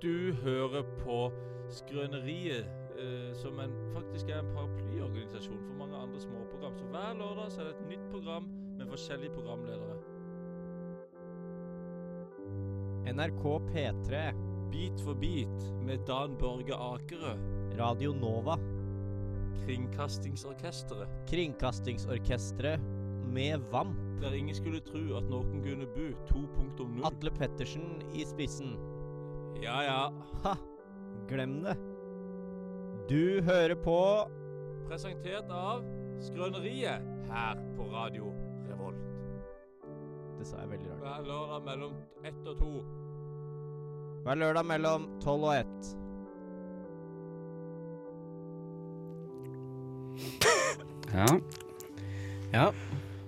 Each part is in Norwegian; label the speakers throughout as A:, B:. A: Du hører på Skrøneriet, eh, som en, faktisk er en paraplyorganisasjon for mange andre småprogram. Så hver lørdag så er det et nytt program med forskjellige programledere.
B: NRK P3,
A: Bit for bit med Dan Børge Akerø,
B: Radio Nova,
A: Kringkastingsorkesteret.
B: Kringkastingsorkestret med VAMP,
A: Der ingen skulle tru at noen kunne bu 2.0.
B: Atle Pettersen i spissen.
A: Ja ja.
B: Ha! Glem det. Du hører på
A: Presentert av Skrøneriet her på Radio Revolt.
B: Det sa jeg veldig rart.
A: Hver lørdag mellom ett og to.
B: Hver lørdag mellom tolv og ett.
C: Ja.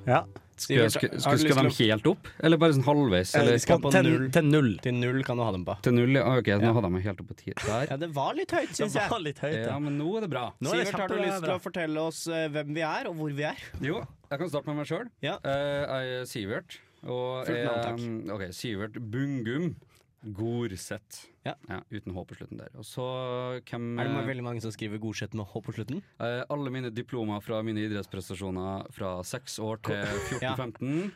D: Ja.
C: Skal, jeg- skal, skal, skal de helt opp, eller bare sånn halvveis? Eller
D: skal på
C: til,
D: null. Til null.
E: Til null kan du ha dem på.
C: til null? ja, Ah, Ok, nå hadde jeg meg helt oppe ti der.
B: Ja, det var litt høyt, syns
D: Det
B: jeg.
D: var litt høyt,
C: Ja, men nå er det bra.
D: Nå er det
B: Sivert, har du
D: kjempebra,
B: lyst til
D: bra.
B: å fortelle oss eh, hvem vi er, og hvor vi er?
C: Jo, jeg kan starte med meg sjøl.
B: Ja.
C: Jeg er Sivert. Og
B: Fullt navn,
C: er- ok, Sivert Bungum Gorseth.
B: Ja.
C: Uten H på slutten der. Og så hvem
B: Er det
C: eh,
B: ma- veldig mange som skriver Godsett med H på slutten?
C: eh, Alle mine diplomer fra mine idrettsprestasjoner fra seks år til 14-15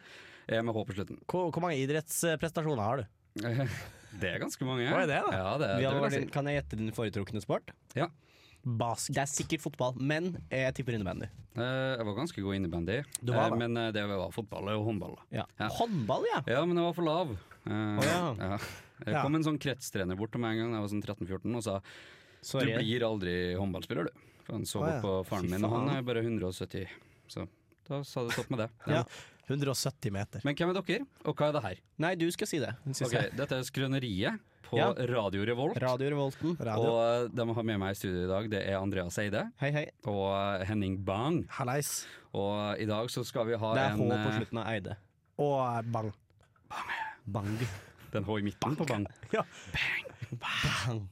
C: er med H på slutten.
D: Hvor, hvor mange idrettsprestasjoner har du?
C: Det er ganske mange.
D: Hva er det da?
C: Ja, det,
B: Vi
C: det
B: har,
C: vil jeg si.
B: din- kan jeg gjette din foretrukne sport?
D: Basket.
B: Det er sikkert fotball, men jeg tipper innebandy.
C: Eh, jeg var ganske god innebandy,
D: Du
C: eh,
D: var det.
C: men eh, det var fotball og håndball. da.
B: Ja.
C: Ja.
B: Håndball, ja!
C: Ja, men jeg var for lav. Eh,
B: ja.
C: ja. Jeg
D: Ja.
C: kom en sånn kretstrener bort til meg en gang da jeg var sånn 13-14 og sa du
B: Sorry.
C: blir aldri håndballspiller, du. For han så
D: Å, ja.
C: opp på faren
B: Fy
C: min, og han
B: faen.
C: er bare 170. Så da sa det stopp med det.
D: Ja. 170 meter.
C: Men hvem er dere, og hva er det her?
B: Nei, du skal si det. Synes
C: Ok,
B: jeg.
C: dette er Skrøneriet på
B: Ja.
C: Radio Revolt.
B: Radio Revolten.
D: Radio.
C: Og eh, de har med meg i studio i dag, det er Andreas Eide
B: Hei, hei.
C: og eh, Henning Bang.
D: Hallais.
C: Og eh, i dag så skal vi ha
B: Det er
C: en
B: H på
C: eh,
B: slutten av Eide.
D: Og bang.
B: Bang.
C: Den H i midten på Bang. eh,
B: Bang.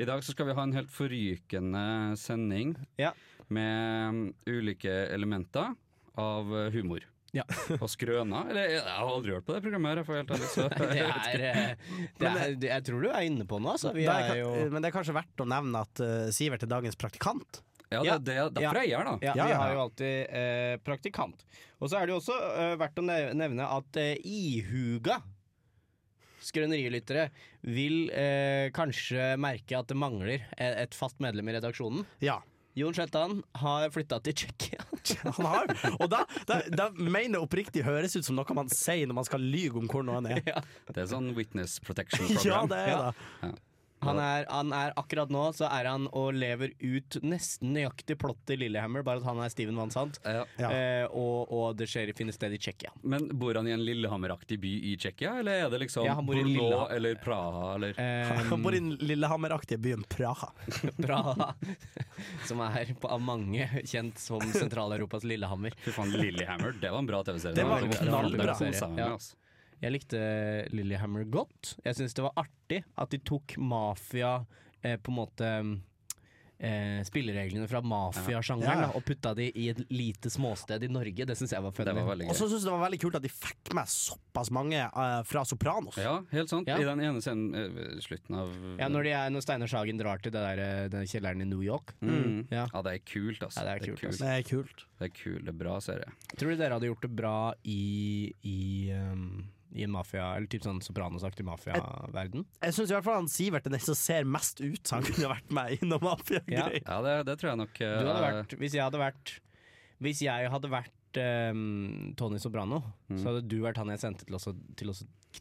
C: I dag så skal vi ha en helt forrykende sending
B: Ja.
C: med um, ulike elementer av uh, humor.
B: Ja.
C: og skrøna. Eller jeg har aldri hørt på det programmet her, for å være helt ærlig. Så.
B: Det er, eh, det er det- Jeg tror du er inne på noe, altså. Vi
D: Da er
B: er
D: ka-
B: jo
D: Men det er kanskje verdt å nevne at eh, Sivert er dagens praktikant.
C: Ja, det,
B: Ja.
C: er det, derfor er jeg her, da.
B: ja,
D: Ja,
B: vi
D: ja.
B: har jo alltid eh, praktikant. Og så er det jo også eh, verdt å nev- nevne at eh, ihuga skrønerilyttere vil eh, kanskje merke at det mangler et, et fast medlem i redaksjonen.
D: Ja.
B: Jon Shetland har flytta til Tsjekkia.
D: Han har. Og da, da, da mener jeg oppriktig høres ut som noe man sier når man skal lyge om hvor noen er.
C: Det er sånn Witness Protection
D: Ja,
C: Program.
D: det er det.
B: Han er, han er akkurat nå så er han og lever ut nesten nøyaktig plottet i Lillehammer, bare at han er Steven Van Sant.
C: Ja.
D: Ja.
B: Eh, og, og det skjer finner sted i Tsjekkia.
C: Men bor han i en Lillehammer-aktig by i Tsjekkia, eller er det liksom
B: Ja, han bor i
C: Brno
B: Lillehammer.
C: eller Praha eller
B: Eh,
D: Han bor i den Lillehammer-aktige byen Praha.
B: Praha, som er på, av mange kjent som Sentral-Europas Lillehammer.
C: Fy faen, Lillehammer. Det var en bra TV-serie.
D: Det var en
C: det var- det
D: knallbra
C: var sånn sammen med,
B: Ja.
C: altså.
B: Jeg likte eh, Lillehammer godt. Jeg syns det var artig at de tok mafia eh, på en måte eh, Spillereglene fra mafiasjangeren
D: Ja.
B: da, og putta de i et lite småsted i Norge. Det syns jeg var
C: Det
B: funny.
C: var veldig gøy.
D: Og så syns jeg det var veldig kult at de fikk med såpass mange eh, fra Sopranos.
C: Ja, helt sant.
B: Ja.
C: I den ene scenen, eh, slutten av
B: Ja, når, de er, når Steinar Sagen drar til det der, eh, den kjelleren i New York.
C: Mm.
B: Ja.
C: Ja. det er kult, altså.
B: Ja, det er kult, altså.
D: Det er kult.
C: Det er kul, det er bra serie.
B: Tror du dere hadde gjort det bra i, i, um, i en mafia, eller typ sånn Sopranos-aktig mafiaverden?
D: Jeg syns i hvert fall han Sivert er den som ser mest ut som han kunne vært med i noe mafiagreier.
C: Ja, det, det tror jeg nok. eh,
B: Du hadde vært, hvis jeg hadde vært Hvis jeg hadde vært um, Tony Soprano,
C: Mm.
B: så hadde du vært han jeg sendte til å, til å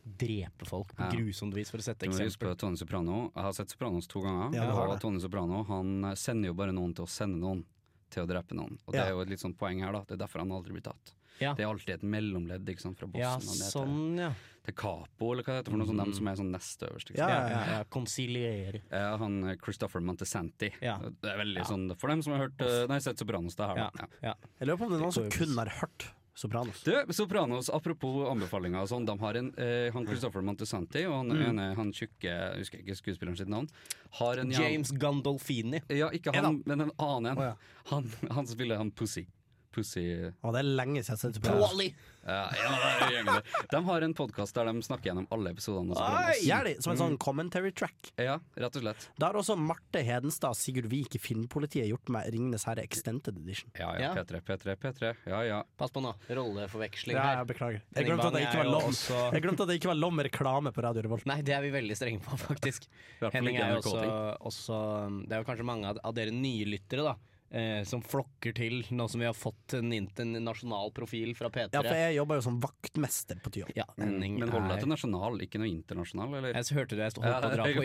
B: drepe folk på
C: Ja.
B: grusomt vis, for å sette
C: Du må huske
B: eksempel.
C: på Tony Soprano. Jeg har sett Sopranos to ganger.
D: Ja, du har
C: og
D: det.
C: Tony Soprano han sender jo bare noen til å sende noen til å drepe noen. Og Det
D: Ja.
C: er jo et litt sånn poeng her, da. Det er derfor han aldri blir tatt.
B: Ja.
C: Det er alltid et mellomledd ikke sant, fra bossen
B: Ja,
C: han ned til-
B: sånn, ja.
C: til Capo, eller hva det heter for noe sånt, dem som er sånn nest øverst. Ikke
D: Ja,
C: sant?
B: ja, ja, ja. Konsiliere.
C: Eh, han eh, Christopher Montesanti.
B: Ja.
C: Det er veldig sånn for dem som har hørt eh, Nei, sett Sopranos. Det er her,
B: Ja,
C: da. Ja.
B: ja.
D: Jeg lurer på om det er noen som
B: Det går jo
D: kun har hørt Sopranos.
C: Du, Sopranos, apropos anbefalinger og sånn, de har en eh, Han Christopher Montesanti og han ene, han tjukke, jeg husker ikke skuespilleren sitt navn, har en jæv-
B: James Gandolfini.
C: Ja, ikke
D: En
C: han, men en annen en.
D: Å, ja.
C: Han, han som spiller han Pussy. Pussy
D: Og det er lenge siden jeg har sett på det.
B: Wall-E.
C: ja, ja, det er gjengen der. De har en podkast der de snakker gjennom alle episodene. og så prøver de å sy-
D: Gjør de, som en sånn
B: Mm.
D: commentary track.
C: Ja, rett og slett.
D: Da har også Marte Hedenstad og Sigurd Vik i Filmpolitiet gjort med 'Ringenes herre extended edition'.
C: Ja
B: Ja.
C: ja, P3, P3, P3. Ja ja.
B: Pass på nå. Rolleforveksling
D: Ja,
B: her.
D: jeg beklager. Jeg glemte at det
B: Henning
D: ikke var
B: Bang er jo
D: lov.
B: også-
D: Jeg glemte at det ikke var lov med reklame på Radio Revolt.
B: Nei, det er vi veldig strenge på, faktisk.
C: hvert fall
B: Henning
C: ikke
B: er jo
C: NRK
B: også,
C: ting.
B: også um, Det er jo kanskje mange av, av dere nye lyttere, da. Eh, som flokker til nå som vi har fått en, int- en nasjonal profil fra P3.
D: Ja, for jeg jobber jo som vaktmester på Tyholt.
B: Ja, Henning
C: Men hold deg
B: er-
C: til nasjonal, ikke noe internasjonal, eller?
B: Jeg så hørte du jeg sto-
C: Ja,
B: holdt på å dra
C: jeg-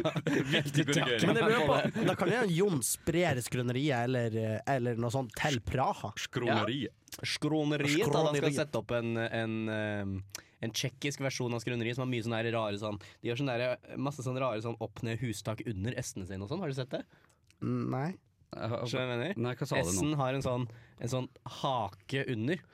B: på internett.
C: Viktig korrigering.
D: Men jeg lurer på, da kan jo Jon spre skrøneriet eller, eh, eller noe sånt til Praha.
C: Skroneriet.
B: Skroneriet, da. Han skal
D: Skroneriet.
B: sette opp en, en, eh, en tsjekkisk versjon av skroneriet som har mye sånne her rare sånn De gjør sånne der, masse sånne rare sånn opp ned hustak under S-ene sine og sånn. Har du sett det?
D: Nei.
B: Skjønner du hva jeg mener?
C: Nei, hva Altså, sa du nå?
B: S-en har en sånn, en sånn hake under.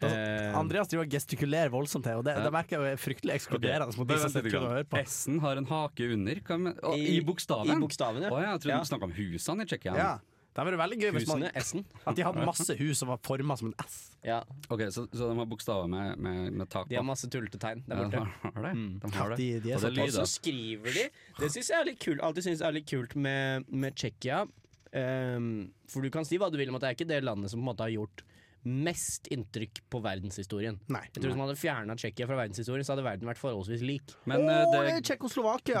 C: Altså,
B: Eh,
D: Andreas driver og gestikulerer voldsomt her, og det, det merker jeg er fryktelig ekskluderende mot de som sitter og hører på.
C: S-en har en hake under? Hva med, å, I,
B: I-
C: bokstaven?
B: i bokstaven, ja.
C: Å, jeg
B: Ja.
C: trodde du snakka om husene i Tsjekkia.
D: Ja. Det hadde vært veldig gøy hvis man,
B: Husene, S-en.
D: at de hadde masse hus som var forma som en S.
B: Ja,
C: Ok, så, så de har bokstaver med, med, med tak på?
B: de har masse tullete tegn der
C: Ja, de
B: borte.
C: har det. De har det.
D: Ja, de- de er
C: Og det
D: såpass.
B: Og så
C: lyder.
B: skriver de Det syns jeg er litt kult. Alltid synes jeg er litt kult med, med Tsjekkia. Ehm, for du kan si hva du vil om at det er ikke det landet som på en måte har gjort mest inntrykk på verdenshistorien.
D: Nei.
B: Jeg tror sånn- Hvis man hadde fjerna Tsjekkia fra verdenshistorien, så hadde verden vært forholdsvis lik.
C: Men
D: Å,
C: eh,
D: det
C: det
D: er Tsjekkoslovakia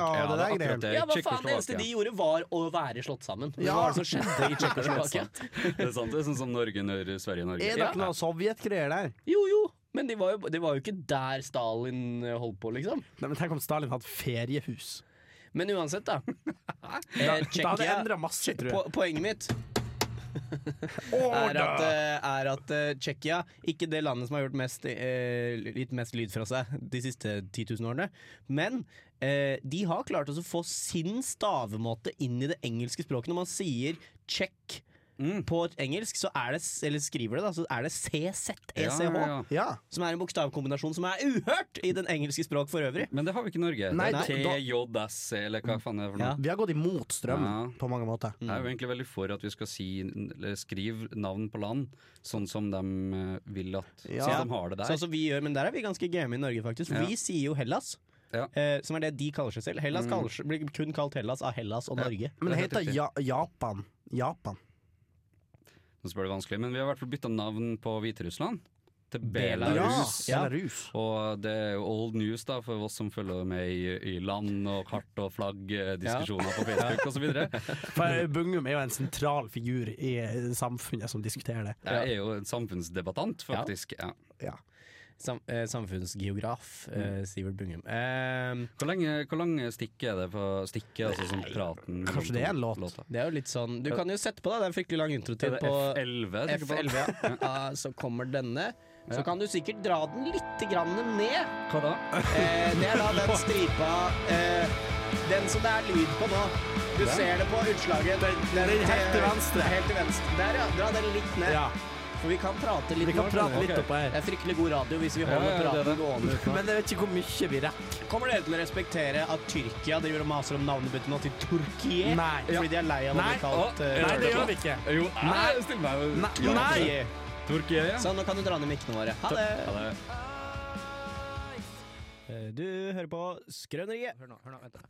C: Ja,
D: og det
C: det er
D: der
C: akkurat
D: greiene.
C: det.
B: Ja, hva faen, Det eneste
C: Tsjekkoslovakia.
B: de gjorde, var å være slått sammen. Det
D: Ja.
B: var det som skjedde i Tsjekkoslovakia.
C: Det er sant, det er sånn som Norge når Sverige Norge.
D: Er det ikke noe sovjetgreier der?
B: Jo jo, men de var jo, de var jo ikke der Stalin eh, holdt på, liksom.
D: Nei, men Tenk om Stalin hadde feriehus.
B: Men uansett, da.
D: Da,
B: Eh,
D: da hadde det
B: Tsjekkia
D: endra masse, tror
B: po
D: jeg.
B: Poenget mitt
D: Å,
B: er
D: da.
B: at, eh, er at eh, Tsjekkia, ikke det landet som har gjort mest, eh, litt mest lyd fra seg de siste 10 000 årene, men eh, de har klart å få sin stavemåte inn i det engelske språket. Når man sier tsjekk
C: Mm.
B: på engelsk, så er det, s- eller skriver det, da, så er det CZECH.
C: Ja, ja, ja.
D: Ja.
B: Som er en bokstavkombinasjon som er uhørt i den engelske språk for øvrig.
C: Men det har vi ikke i Norge.
D: Nei,
C: det
D: da- da-
C: er TJS, E, eller hva faen er det for noe.
B: Ja.
D: Vi har gått imot strømmen
C: Ja.
D: på mange måter.
C: Jeg er jo egentlig veldig for at vi skal si, eller skrive navn på land, sånn som de eh, vil at
D: Ja.
C: Sånn som de har det der.
B: Sånn som vi gjør, Men der er vi ganske game i Norge, faktisk. For
C: Ja.
B: Vi sier jo Hellas,
C: Ja.
B: eh, som er det de kaller seg selv. Hellas kaller seg, blir kun kalt Hellas av Hellas og Norge.
D: Men det
C: Det er
D: heter
C: helt
D: ja Japan. Japan.
C: Nå spør det vanskelig, men vi har i hvert fall bytta navn på Hviterussland til
B: Ja.
C: Belarus.
B: Ja.
D: Belarus.
C: Og det er jo old news da for oss som følger med i, i land og kart og flagg, eh, diskusjoner på Facebook osv.
D: For Bungum er jo en sentral figur i samfunnet som diskuterer det.
C: Jeg er jo en samfunnsdebattant,
B: Ja.
C: faktisk. Ja.
D: Ja.
B: Sam, eh, samfunnsgeograf eh, Sivert Bungum. Eh,
C: Hvor lange, hvor lange stikk er det på stikket, altså sånn praten mellom
D: Kanskje det er en
C: to
D: låt?
C: låter?
B: det er jo litt sånn Du kan jo sette på, da. Det er en fryktelig lang
C: Er
B: introtid
C: det
B: på
C: F11? jeg tenker på?
B: F11. Ja. Ah, så kommer denne. Så kan du sikkert dra den litt grann ned.
C: Hva da?
B: Eh, det er da den stripa eh, Den som det er lyd på nå. Du ser det på utslaget. Den,
D: helt til venstre.
B: Helt til venstre. Der, ja. Dra den litt ned.
D: Ja.
B: For vi kan prate litt
D: Vi kan
B: nå,
D: prate
B: skjønner du.
D: litt oppå her.
B: Det er fryktelig god radio hvis vi
C: Ja,
B: holder
C: ja, det er
B: praten
C: det.
B: gående. utenfor.
D: Men jeg vet ikke hvor mye vi rekker.
B: Kommer dere til å respektere at Tyrkia driver og maser om navnebytte nå til Turkie?
D: Nei.
B: Fordi de er lei av å
D: Nei.
B: bli kalt eh,
D: Nei, det
B: Turkie?
D: gjør vi ikke.
C: Jo, nei, still meg jo
D: Nei.
C: Ja,
D: Nei.
B: Turkie.
C: Turkiet, ja.
B: Så nå kan du dra ned mikkene våre. Ha det!
C: Ja, det-
D: Eh,
B: Du hører på Skrøneriet. Hør nå, hør nå, vent da.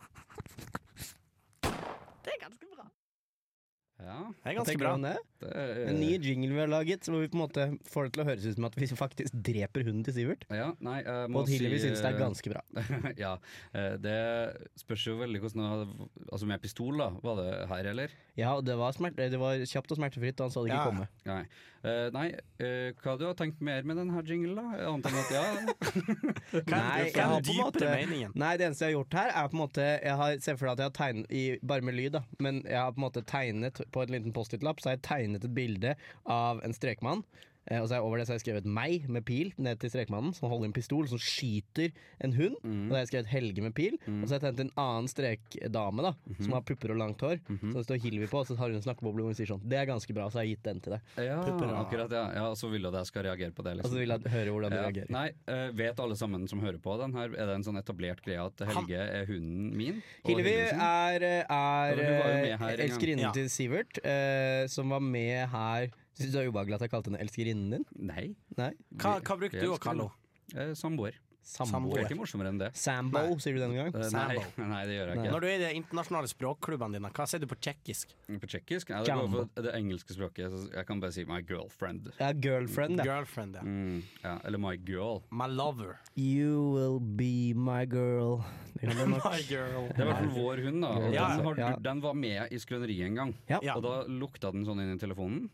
C: Ja,
D: Det er
B: Ganske
D: ganske bra.
B: bra.
C: det er-
B: En ny jingle vi har laget, så hvor vi på en måte får det til å høres ut som at vi faktisk dreper hunden til Sivert.
C: Ja, nei, jeg må
B: Og tydeligvis
C: si,
B: synes det er
C: eh,
B: ganske bra.
C: ja, eh, det spørs jo veldig hvordan det hadde- Altså med pistol, da. Var det her, eller?
B: Ja, og det var, smert, det var kjapt og smertefritt, og han så det ikke
D: Ja.
B: komme.
C: Nei. Eh, nei, eh, hva du har tenkt mer med denne jinglen, da? Annet enn at ja
B: Nei,
D: Hva
B: jeg
D: er
B: har
D: den
B: på en måte-
D: dypere meningen?
B: Nei, det eneste jeg har gjort her, er på en måte Jeg har, Se for deg at jeg har tegnet i, Bare med lyd, da. Men jeg har på en måte tegnet på en liten Post-It-lapp Så har jeg tegnet et bilde av en strekmann. eh, Og så har jeg over det så har jeg skrevet meg med pil ned til strekmannen, som holder en pistol, som skyter en hund. Og da har jeg skrevet Helge med pil. Og så har jeg tegnet en annen strekdame, da, som har pupper og langt hår. Som det står Hilvi på, og så har hun en snakkeboble hvor hun sier sånn Det er ganske bra, så har jeg gitt den til deg.
C: Ja,
D: Pupper.
C: akkurat, ja. ja og så vil du at jeg skal reagere på det,
B: Og så
C: liksom.
B: Altså vil jeg høre hvordan du
C: Ja.
B: reagerer.
C: Nei, eh, vet alle sammen som hører på den her, er det en sånn etablert greie at Helge er hunden min? og
B: Hillevi
C: Hilde sin?
B: er, er
C: Ja, hun var jo med her en gang.
B: elskerinnen
D: Ja.
B: til Sivert, eh, som var med her Syns du det er ubehagelig at jeg kalte henne elskerinnen din?
C: Nei.
B: Nei?
D: Hva, hva brukte
C: Vi
D: du å
C: elsker
D: kalle henne?
C: Eh, Samboer.
B: Samboer.
C: Det er ikke morsommere enn det.
B: Sambo,
D: Nei.
B: sier du denne gang?
C: Eh, Nei,
D: Sambo.
C: nei, det gjør jeg ikke.
D: Når du er i de internasjonale språkklubbene dine, hva sier du på tjekkisk?
C: På tjekkisk? Nei, det går
B: Jambo.
C: for det engelske språket. Så jeg kan bare si 'my girlfriend'.
B: Ja, girlfriend, ja.
D: Girlfriend, ja.
C: Mm, ja, eller 'my girl'.
D: My lover.
B: You will be my girl. Det kan det nok.
D: My girl.
C: Det er i hvert fall vår hund, da. Og
D: Ja.
C: den, har,
B: Ja.
C: den var med i skrøneriet en gang.
B: Ja,
D: Ja.
C: Og da lukta den sånn inn i telefonen.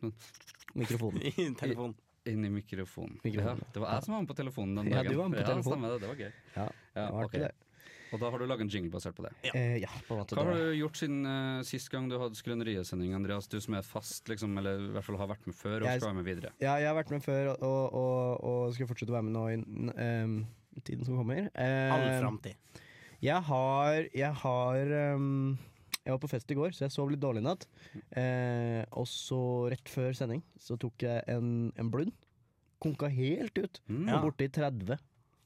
B: mikrofonen.
D: I telefonen.
C: Inn i mikrofonen.
B: Mikrofonen,
C: Ja, det var jeg som var med på telefonen den
B: Ja,
C: dagen.
B: du var med på telefonen.
C: stemmer det. Det var gøy.
B: Ja,
C: Ja,
B: det var
C: ok.
B: artig, det.
C: Og da har du laget en jingle basert på det.
D: Ja.
B: Eh, ja, på en måte.
C: Hva har
B: det.
C: du gjort siden eh, sist gang du hadde skrøneriesending, Andreas? Du som er fast, liksom, eller i hvert fall har vært med før og
B: Jeg-
C: skal være med videre.
B: Ja, jeg har vært med før, og, og, og, og skal fortsette å være med nå i n- ehm, tiden som kommer. Eh,
D: All framtid.
B: Jeg har Jeg har ehm, Jeg var på fest i går, så jeg sov litt dårlig i natt. Eh, og så, rett før sending, så tok jeg en, en blund. Konka helt ut.
C: Mm.
B: Var borte i 30.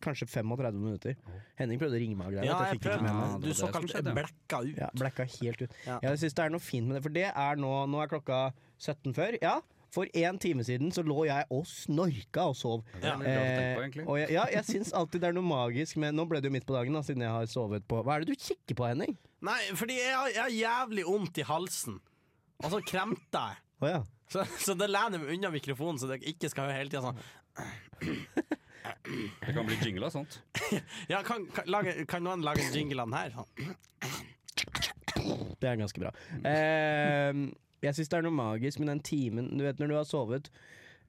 B: Kanskje 35 minutter. Henning prøvde å ringe meg og greier. at
D: Ja, jeg
B: jeg fikk det ikke med meg.
C: Ja, det var
D: prøvde. Du
C: det som
D: såkalt
C: skjedde.
D: blekka ut.
B: Ja, blacka helt ut.
D: Ja.
B: Jeg synes det er noe fint med det, for det er nå Nå er klokka 17 før. Ja, for én time siden så lå jeg og snorka og sov. Eh,
C: Det er
D: Ja.
C: litt rart å tenke på, egentlig.
B: og jeg, ja, jeg syns alltid det er noe magisk, men nå ble det jo midt på dagen, da, siden jeg har sovet på Hva er det du kikker på, Henning?
D: Nei, fordi jeg har, jeg har jævlig vondt i halsen. Og så kremter jeg.
B: Å ja.
D: Så, så det lener jeg meg unna mikrofonen, så dere ikke skal høre hele tida sånn.
C: Det kan bli jingle av sånt.
D: Ja, kan, kan, lage, kan noen lage jinglene her? Sånn.
B: Det er ganske bra. Eh, jeg syns det er noe magisk med den timen Du vet når du har sovet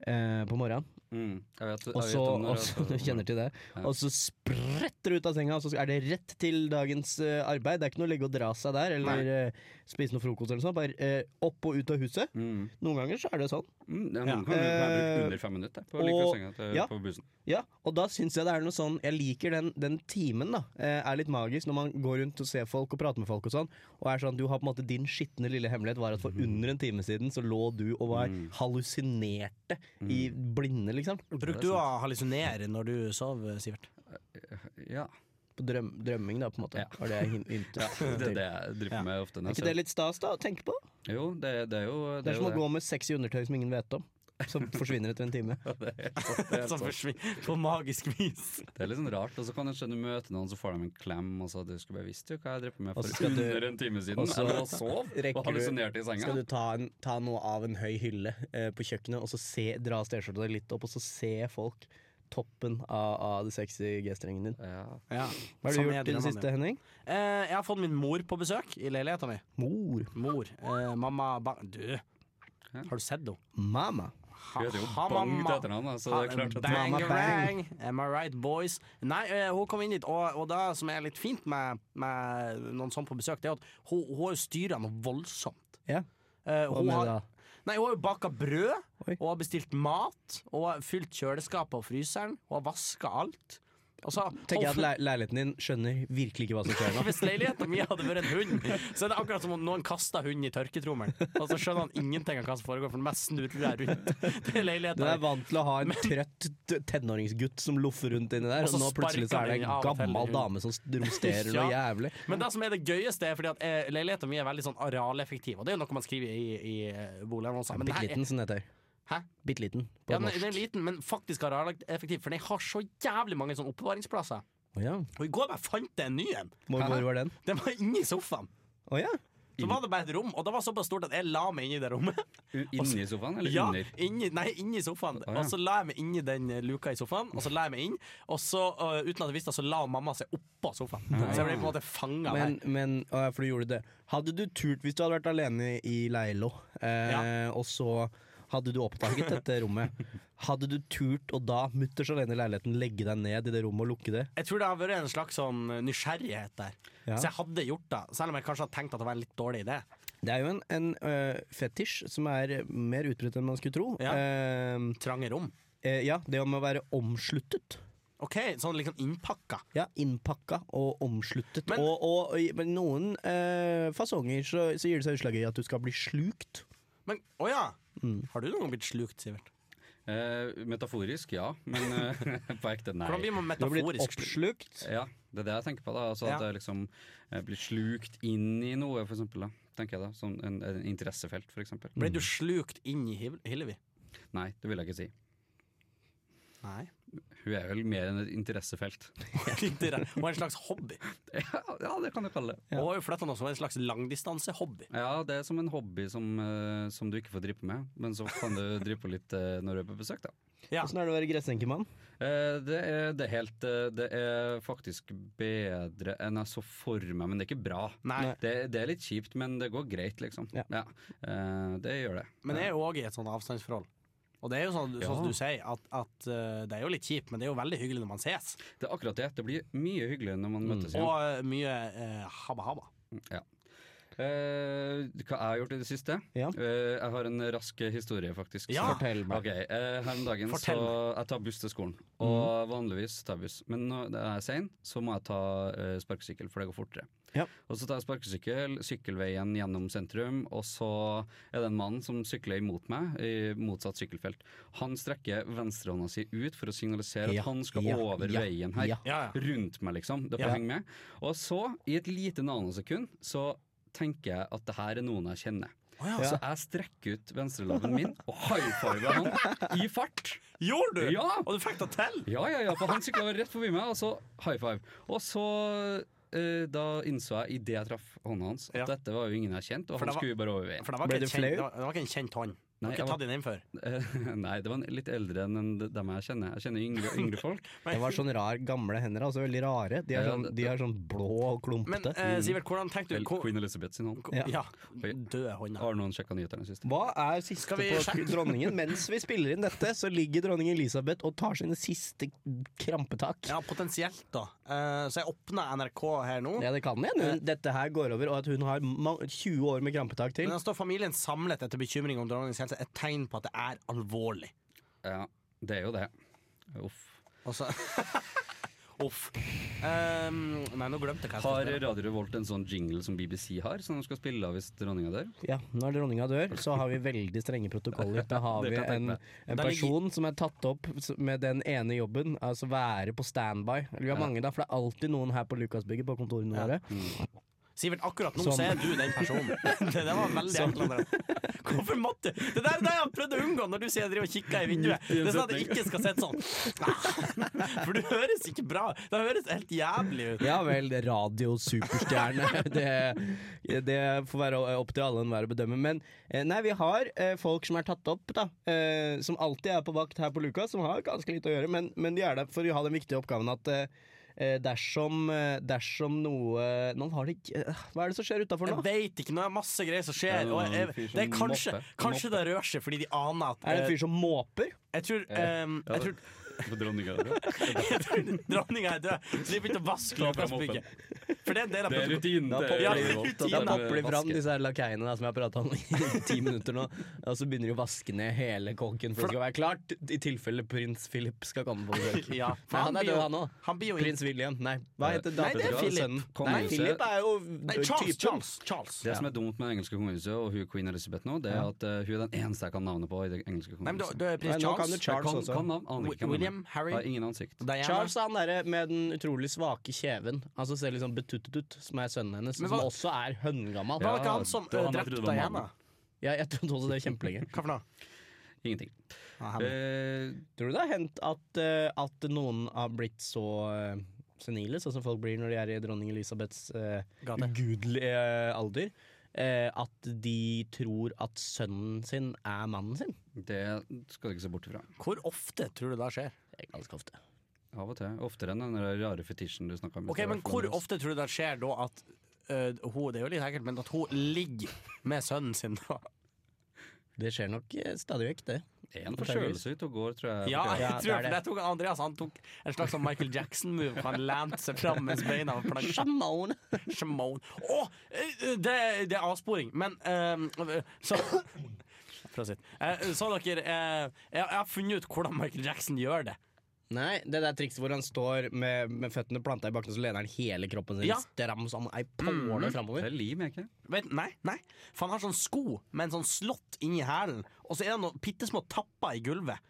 B: eh, på morgenen,
C: Mm. Jeg vet, jeg
B: og så,
C: vet om når
B: og
C: jeg-
B: så du kjenner til det,
C: Ja.
B: og så spretter du ut av senga, og så er det rett til dagens eh, arbeid. Det er ikke noe å ligge og dra seg der, eller eh, spise noe frokost eller sånn. Bare eh, opp og ut av huset.
C: Mm.
B: Noen ganger så er det sånn.
C: Mm, ja,
D: Ja.
C: noen kan jeg bruke
B: Eh,
C: under fem minutter på å ligge
B: og-
C: i senga til,
B: ja.
C: på bussen.
B: Ja, og da syns jeg det er noe sånn Jeg liker den, den timen, da. Eh, er litt magisk når man går rundt og ser folk og prater med folk og sånn. Og er sånn, du har på en måte din skitne lille hemmelighet var at for under en time siden så lå du og var hallusinerte i
C: Mm,
B: blinde, liksom.
D: Bruker du å hallusinere når du sover, Sivert?
C: Ja.
B: På drøm, drømming, da, på en måte.
C: Ja.
B: Var det jeg hint, hintet
C: ja. Det er
B: til.
C: det jeg driver
D: Ja.
C: med ofte.
B: Er
C: Når
B: ikke det
C: jeg
B: litt stas, da? Å tenke på?
C: ser- jo, det, det er jo
B: Det er
C: jo
B: som å gå med sexy undertøy som ingen vet om. Som forsvinner etter en time.
C: er
D: Som forsvinner på magisk vis.
C: Det er litt sånn rart. Og så kan det skje du møter noen, så får de en klem, og så du skulle bare visst jo hva jeg drev på med
B: Og så
C: for
B: skal du-
C: under en time siden.
B: og så
C: Jeg lå og sov
B: rekker
C: og
B: du-
C: hallusinerte i senga.
B: Skal du ta, en, ta noe av en høy hylle eh, på kjøkkenet, og så se, dra T-skjorta di litt opp, og så se folk toppen av, av det sexy G-strengen din.
C: Ja.
D: Ja.
B: Hva har
D: Sånn
B: du gjort i
D: er
B: det
D: dilemmaen,
B: siste, Henning?
D: ja. Eh, jeg har fått min mor på besøk i leiligheta mi.
B: Mor.
D: Mor. Eh, mamma ba Du, har du sett henne?
B: Mamma.
D: Ha-
C: Hun heter jo
D: ha,
C: Bang
D: mamma.
C: til etternavn, da, så det er klart at
D: Bang,
B: Mamma bang.
D: bang. Am I right, boys? Nei, eh, hun kom inn dit, og, og det som er litt fint med, med noen sånn på besøk, det er at hun, hun har jo styra noe voldsomt.
B: Ja.
D: Eh,
B: Hva
D: hun,
B: med
D: har,
B: da?
D: nei, hun har jo baka brød,
B: Oi.
D: hun har bestilt mat, hun har fylt kjøleskapet og fryseren, hun har vaska alt. Og så,
B: Tenker jeg
D: og
B: at le leiligheten din skjønner virkelig ikke hva som skjer nå.
D: hvis leiligheten min hadde vært en hund, så er det akkurat som om noen kasta hunden i tørketrommelen. Og så skjønner han ingenting av hva som foregår, for det mest snurrer jeg rundt. Det er
B: Du
D: leiligheten
B: er vant til å ha en trøtt t- tenåringsgutt som loffer rundt inni der,
D: Og
B: og
D: så
B: nå plutselig så er
D: sparker
B: det en
D: den av og til i
B: gammel
D: huet.
B: dame som romsterer noe jævlig.
D: Men det som er det gøyeste, er fordi at eh, leiligheten min er veldig sånn arealeffektiv. Og det er jo noe man skriver i, i eh, boligannonser. Men
B: Bitte
D: den her
B: liten,
D: er,
B: som det heter.
D: Hæ?
B: Bitte liten på
D: ja, den, den er
B: norsk.
D: liten, men faktisk arealeffektiv, for den har så jævlig mange sånne oppbevaringsplasser.
B: Å ja.
D: Og i går bare fant jeg en ny en!
B: Hvor hvor var den?
D: Den var inni sofaen.
B: Å ja.
D: Så var det bare et rom, og det var såpass stort at jeg la meg inni det rommet.
C: U- Inni sofaen, eller
D: Ja,
C: under?
D: inni, nei, inni sofaen.
C: Å, ja.
D: Og så la jeg meg inni den eh, luka i sofaen, og så la jeg meg inn. Og så, eh, uten at jeg visste det, så la mamma seg oppå sofaen. Så jeg ble på en måte fanga der.
B: Men, men å, ja, for du gjorde det. Hadde du turt hvis du hadde vært alene i Leilo, eh, og så hadde du oppdaget dette rommet, hadde du turt å da, mutters alene i leiligheten, legge deg ned i det rommet og lukke det?
D: Jeg tror det har vært en slags sånn nysgjerrighet der.
B: Ja.
D: Så jeg hadde gjort det, selv om jeg kanskje hadde tenkt at det var en litt dårlig idé.
B: Det er jo en, en eh, fetisj som er mer utbredt enn man skulle tro.
D: Ja.
B: Eh,
D: Trange rom.
B: eh, ja, det om å være omsluttet.
D: OK, sånn liksom innpakka.
B: Ja, Innpakka og omsluttet.
D: Men-
B: og, og i men noen eh, fasonger så, så gir det seg utslag i at du skal bli slukt.
D: Men å ja!
C: Mm.
D: Har du noen gang blitt slukt, Sivert?
C: Eh, metaforisk, ja. Men eh, på ekte, nei.
D: Hvordan blir man
B: Du har blitt
D: metaforisk slukt?
B: oppslukt.
C: Ja, det er det jeg tenker på. da altså
D: Ja.
C: At jeg liksom eh, blir slukt inn i noe, for eksempel. Da, tenker jeg da Som en, en interessefelt, for eksempel.
D: Ble du slukt inn i Hiv- Hillevi?
C: Nei, det vil jeg ikke si.
D: Nei.
C: Hun er vel mer enn et interessefelt.
D: Hun er en slags hobby.
C: ja, det kan du kalle det.
D: Og hun har jo flytta nå, så hun er en slags langdistansehobby.
C: Ja, det er som en hobby som, eh, som du ikke får drive på med, men så kan du drive på litt eh, når du er på besøk, da.
D: Ja.
B: Åssen er det å være gressenkemann?
C: Eh, det, er, det, er helt, eh, det er faktisk bedre enn jeg så for meg, men det er ikke bra.
D: Nei.
C: Det, det er litt kjipt, men det går greit, liksom.
B: Ja.
C: Eh, det gjør det.
D: Men jeg er jo òg i et sånt avstandsforhold. Og det er jo sånn, sånn som
C: Ja.
D: du sier, at, at eh, det er jo litt kjipt, men det er jo veldig hyggelig når man ses.
C: Det er akkurat det. Det blir mye hyggeligere når
B: Mm.
C: man møtes igjen.
D: Og eh, mye eh, habba-habba.
C: Ja. Eh, hva jeg har gjort i det siste?
B: Ja.
C: Eh, jeg har en rask historie, faktisk.
D: Ja.
B: Fortell meg.
C: Ok, eh, Her om dagen
D: Fortell.
C: så jeg tar buss til skolen. Og
B: Mm.
C: vanligvis tar jeg buss. Men når jeg er sein, så må jeg ta eh, sparkesykkel, for det går fortere.
B: Ja.
C: Og så tar jeg sparkesykkel, sykkelveien gjennom sentrum, og så er det en mann som sykler imot meg, i motsatt sykkelfelt. Han strekker venstrehånda si ut for å signalisere
B: Ja,
C: at han skal
B: ja,
C: over
B: ja,
C: veien her.
B: ja.
D: Ja, ja.
C: Rundt meg, liksom. Det får
D: Ja.
C: jeg henge med. Og så, i et lite nanosekund, så tenker jeg at det her er noen jeg kjenner.
D: Å ja,
C: Så jeg strekker ut venstrelaben min og high-fiver han i fart.
D: Gjorde du?!
C: Ja.
D: Og du fikk det til!
C: Ja, ja, ja, for han sykla rett forbi meg, og så high five. Og så eh, da innså jeg idet jeg traff hånda hans, at
D: Ja.
C: dette var jo ingen jeg kjente, og
D: For
C: han
D: det var-
C: skulle jo bare over veien.
D: For det var,
B: Ble
D: ikke
B: du
D: en kjent,
B: flau?
D: det var det var ikke en kjent hånd. Du
C: Nei, jeg
D: har ikke
C: var-
D: tatt den inn før.
C: Eh, Nei, det var en litt eldre enn enn dem jeg kjenner. Jeg kjenner yngre, yngre folk.
B: Det var sånn rar, gamle hender, altså veldig rare. De er
C: Ja,
B: sånn,
C: det-
B: de er sånn blå og
D: Men
B: klumpete.
D: eh, Sivert, hvordan tenkte du
C: Vel,
D: ko-
C: Queen Elizabeth sin hånd.
D: ko-
B: Ja.
D: Ja, døde hånda.
C: Har noen sjekka nyhetene sist?
B: Hva er siste
D: Skal vi
B: på
D: sjekke?
B: dronningen? Mens vi spiller inn dette, så ligger dronning Elisabeth og tar sine siste krampetak.
D: Ja, potensielt, da. Eh, så jeg åpner NRK her nå.
B: Ja, det kan hende.
D: Eh.
B: hun- Dette her går over, og at hun har ma- 20 år med krampetak til.
D: Men her står familien samlet etter bekymring om dronningens helse. Et tegn på at det er alvorlig.
C: Ja, det er jo det. Uff.
D: Og så Uff. Ehm, nei, nå glemte jeg hva jeg
C: Har
D: skulle spørre.
C: Radio Revolt en sånn jingle som BBC har, som de skal spille av hvis dronninga dør?
B: Ja, Når dronninga dør, så har vi veldig strenge protokoller. Da har
C: Det
B: vi
C: kan jeg tenke
B: en,
C: meg.
B: en
D: Da ligger-
B: person som er tatt opp s- med den ene jobben, altså være på standby. Vi har mange da, for det er alltid noen her på Lukasbygget på kontorene
D: Ja.
B: våre.
D: Sivert, akkurat nå
B: Som-
D: så er du den personen. det, det var veldig enkelt. André. Hvorfor måtte Det der er det jeg prøvde å unngå når du sier jeg driver og kikker i vinduet. Det er sånn at jeg ikke skal sitte sånn. For du høres ikke bra Det høres helt jævlig ut.
B: Ja vel, det er radiosuperstjerne. Det, det får være opp til alle og enhver å bedømme. Men eh, nei, vi har eh, folk som er tatt opp, da. eh, Som alltid er på vakt her på Lukas, som har ganske lite å gjøre. Men, men de er der for å ha den viktige oppgaven at eh, eh, dersom, eh, dersom noe Nå har det ikke eh, Hva er det som skjer utafor
D: Jeg
B: nå?
D: veit ikke, nå er det masse greier som skjer.
C: Det er
D: Og
C: noen
D: jeg,
C: fyr som
D: det er kanskje,
C: mopper.
D: kanskje det rører seg fordi de aner
B: Er
D: at
B: det en
D: eh,
B: fyr som måper?
D: Jeg tror, um,
C: Ja,
D: jeg tror,
C: For dronninga dør.
D: jeg tror dronninga er død, så de begynte å vaske
C: Ta fram
D: Lukasbygget. For det er en del av
C: Det er rutinen.
B: Da
C: til
D: popper-
C: Radio Revolt, at
B: Da
C: de
B: popper de fram
C: vasker.
B: disse her lakeiene da, som jeg har prata om i ti minutter nå. Og så begynner de å vaske ned hele kåken for det skal være klart, i tilfelle prins Philip skal komme på besøk.
D: Ja, for
B: Nei, han er
D: blir jo-
B: død, han òg.
D: Han blir jo
B: Prins William. Nei, hva heter
C: Nei,
D: det er
B: datteren og
D: Philip.
B: sønnen?
C: Kong
B: Nei,
C: Josef.
B: Philip er jo
D: Nei, Charles,
B: typen.
D: Charles, Charles.
C: Det som er dumt med det engelske kongehuset og hun queen Elizabeth nå, det er at eh, hun er den eneste jeg kan navnet på i det engelske
D: Nei, men da,
C: kongehuset.
D: da er
B: Nei,
D: prins
B: nå kan du
D: Charles,
B: Charles
C: kan,
B: også.
C: kan navn, aner
D: Wi-
C: ikke hvem
D: William,
C: han er.
D: Harry.
C: Har ingen ansikt.
D: Diana
B: Charles er han derre med den utrolig svake kjeven. Altså Ser litt sånn betuttet ut, som er sønnen hennes.
D: Men
B: Som
D: hva-
B: også er høngammal.
D: Var
B: Ja.
D: det ikke han som
C: det var
D: eh,
C: han jeg
D: drepte
C: trodde var
D: Diana?
C: mannen.
B: jeg trodde også det kjempelenge.
D: Hva for noe? Ah,
C: Ingenting.
D: Ja, hemmelig.
C: Eh,
B: Tror du det har hendt at, eh, at noen har blitt så eh, senile, sånn som folk blir når de er i dronning Elisabeths eh,
D: Gate.
B: ugudelige alder, eh, at de tror at sønnen sin er mannen sin?
C: Eh, det skal du ikke se bort ifra.
D: Hvor ofte tror du det skjer?
B: Det er ganske ofte.
C: Av og til. Oftere enn den der rare fetisjen du snakka om. i
D: Ok,
C: sted, i
D: men
C: hvert
D: Hvor
C: fall.
D: ofte tror du det skjer da at eh, hun, Det er jo litt ekkelt, men at hun ligger med sønnen sin da?
B: Det skjer nok eh, stadig vekk, det.
C: Det er en forkjølelse ute og går, tror jeg.
D: Ja,
B: Ja,
D: jeg
B: det
D: tror
B: er
D: for
B: det.
D: det tok Andreas Han tok en slags sånn Michael Jackson-move. hvor Han lente seg fram mens beina var planket.
B: Sjaman!
D: Shimon. Å! eh, Det, det er avsporing, men eh, Så Prosit. Eh, så dere eh, jeg, jeg har funnet ut hvordan Michael Jackson gjør det.
B: Nei, det der trikset hvor han står med, med føttene planta i bakken, og så lener han hele kroppen sin
D: Ja.
B: stram som ei påle
C: Det
B: framover.
C: er lim, er ikke
D: Vet, nei, nei. For han har sånn sko med en sånn slott inni hælen, og så er det noen bitte små tapper i gulvet.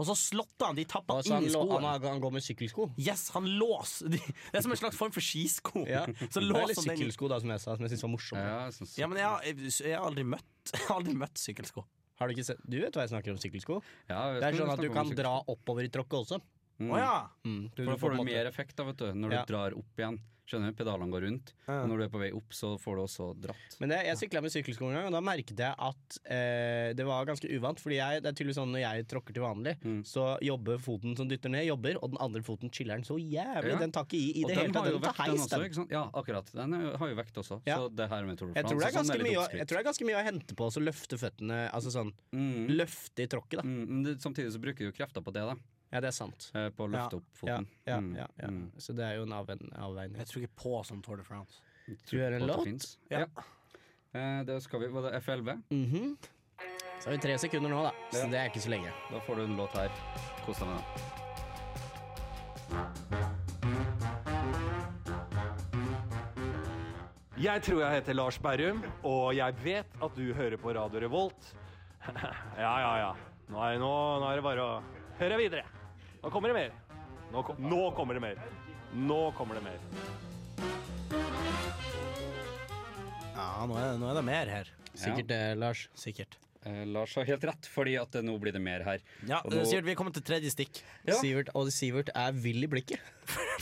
D: Og så slotter han de tappene
B: Og så
D: inn
B: han,
D: i
B: lå, han,
D: skoene.
B: har- han går med sykkelsko.
D: Yes, han låser de, Det er som en slags form for skisko.
B: Ja. Eller
D: Så
C: sånn
D: låser han den i
B: sykkelsko, da, som jeg sa, som jeg syntes var morsomt.
C: Ja, jeg synes-
D: Ja, men jeg, har- jeg, jeg har aldri møtt, jeg har aldri møtt sykkelsko.
B: Har du ikke sett Du vet hva jeg snakker om, sykkelsko?
C: Ja, jeg vet
B: Det er
C: ikke om
B: sånn at
C: vi
B: du
C: snakker om
B: kan
C: sykkel.
B: dra oppover i tråkket også.
C: Mm.
D: Å ja.
B: Mm. Du,
C: For da får
B: på
C: du
B: en måte-
C: mer effekt da, vet du, når
B: Ja.
C: du drar opp igjen. Skjønner du? Pedalene går rundt.
D: Ja.
C: Og når du er på vei opp, så får du også dratt.
B: Men det, jeg sykla med sykkelsko en gang, og da merket jeg at eh, det var ganske uvant. Fordi jeg, det er tydeligvis sånn når jeg tråkker til vanlig,
C: Mm.
B: så jobber foten som dytter ned, jobber, og den andre foten chiller'n så jævlig.
C: Ja.
B: Den tar ikke i i
C: og
B: det
C: den
B: hele tatt.
C: har jo
B: Den tar
C: vekt, den
B: heis,
C: også.
B: den.
C: ikke sant? Ja, akkurat. Den er jo- har jo vekt også.
B: Ja.
C: Så det her med Tour de
B: Jeg tror, det
C: France
B: er
C: så sånn
B: ganske
C: er litt
B: mye, å- jeg
C: oppskrytt.
B: tror det er ganske mye å hente på å løfte føttene Altså sånn
C: Mm.
B: løfte i tråkket, da.
C: Mm, men det, samtidig så bruker du jo krefter på det, da.
B: Ja, det er sant.
C: eh, På å løfte opp
B: Ja,
C: foten.
B: ja,
C: Mm,
B: ja, ja.
C: mm.
B: Så det er jo en avven- avveining.
D: Jeg tror ikke på sånn Tour de France.
B: Tror du det er en
C: På at
B: låt?
C: finnes.
D: Ja.
C: Ja. Eh, Da skal vi, var det F11?
B: Mhm. Så har vi tre sekunder nå, da. Så det er ikke så lenge.
C: Da får du en låt her. Kos deg med den.
E: Jeg tror jeg heter Lars Berrum, og jeg vet at du hører på Radio Revolt. Ja, ja, ja. Nå er, nå, nå er det bare å høre videre. Nå kommer det mer. Nå, kom, nå kommer det mer. Nå kommer det mer.
D: Ja, nå er, nå er det mer her.
B: Sikkert det, Lars.
D: Sikkert.
C: Eh, Lars har helt rett, fordi at eh, nå blir det mer her.
D: Ja,
C: Og nå-
D: Sivert, vi er kommet til tredje stikk.
C: Ja.
B: Sivert, og Sivert er vill i blikket.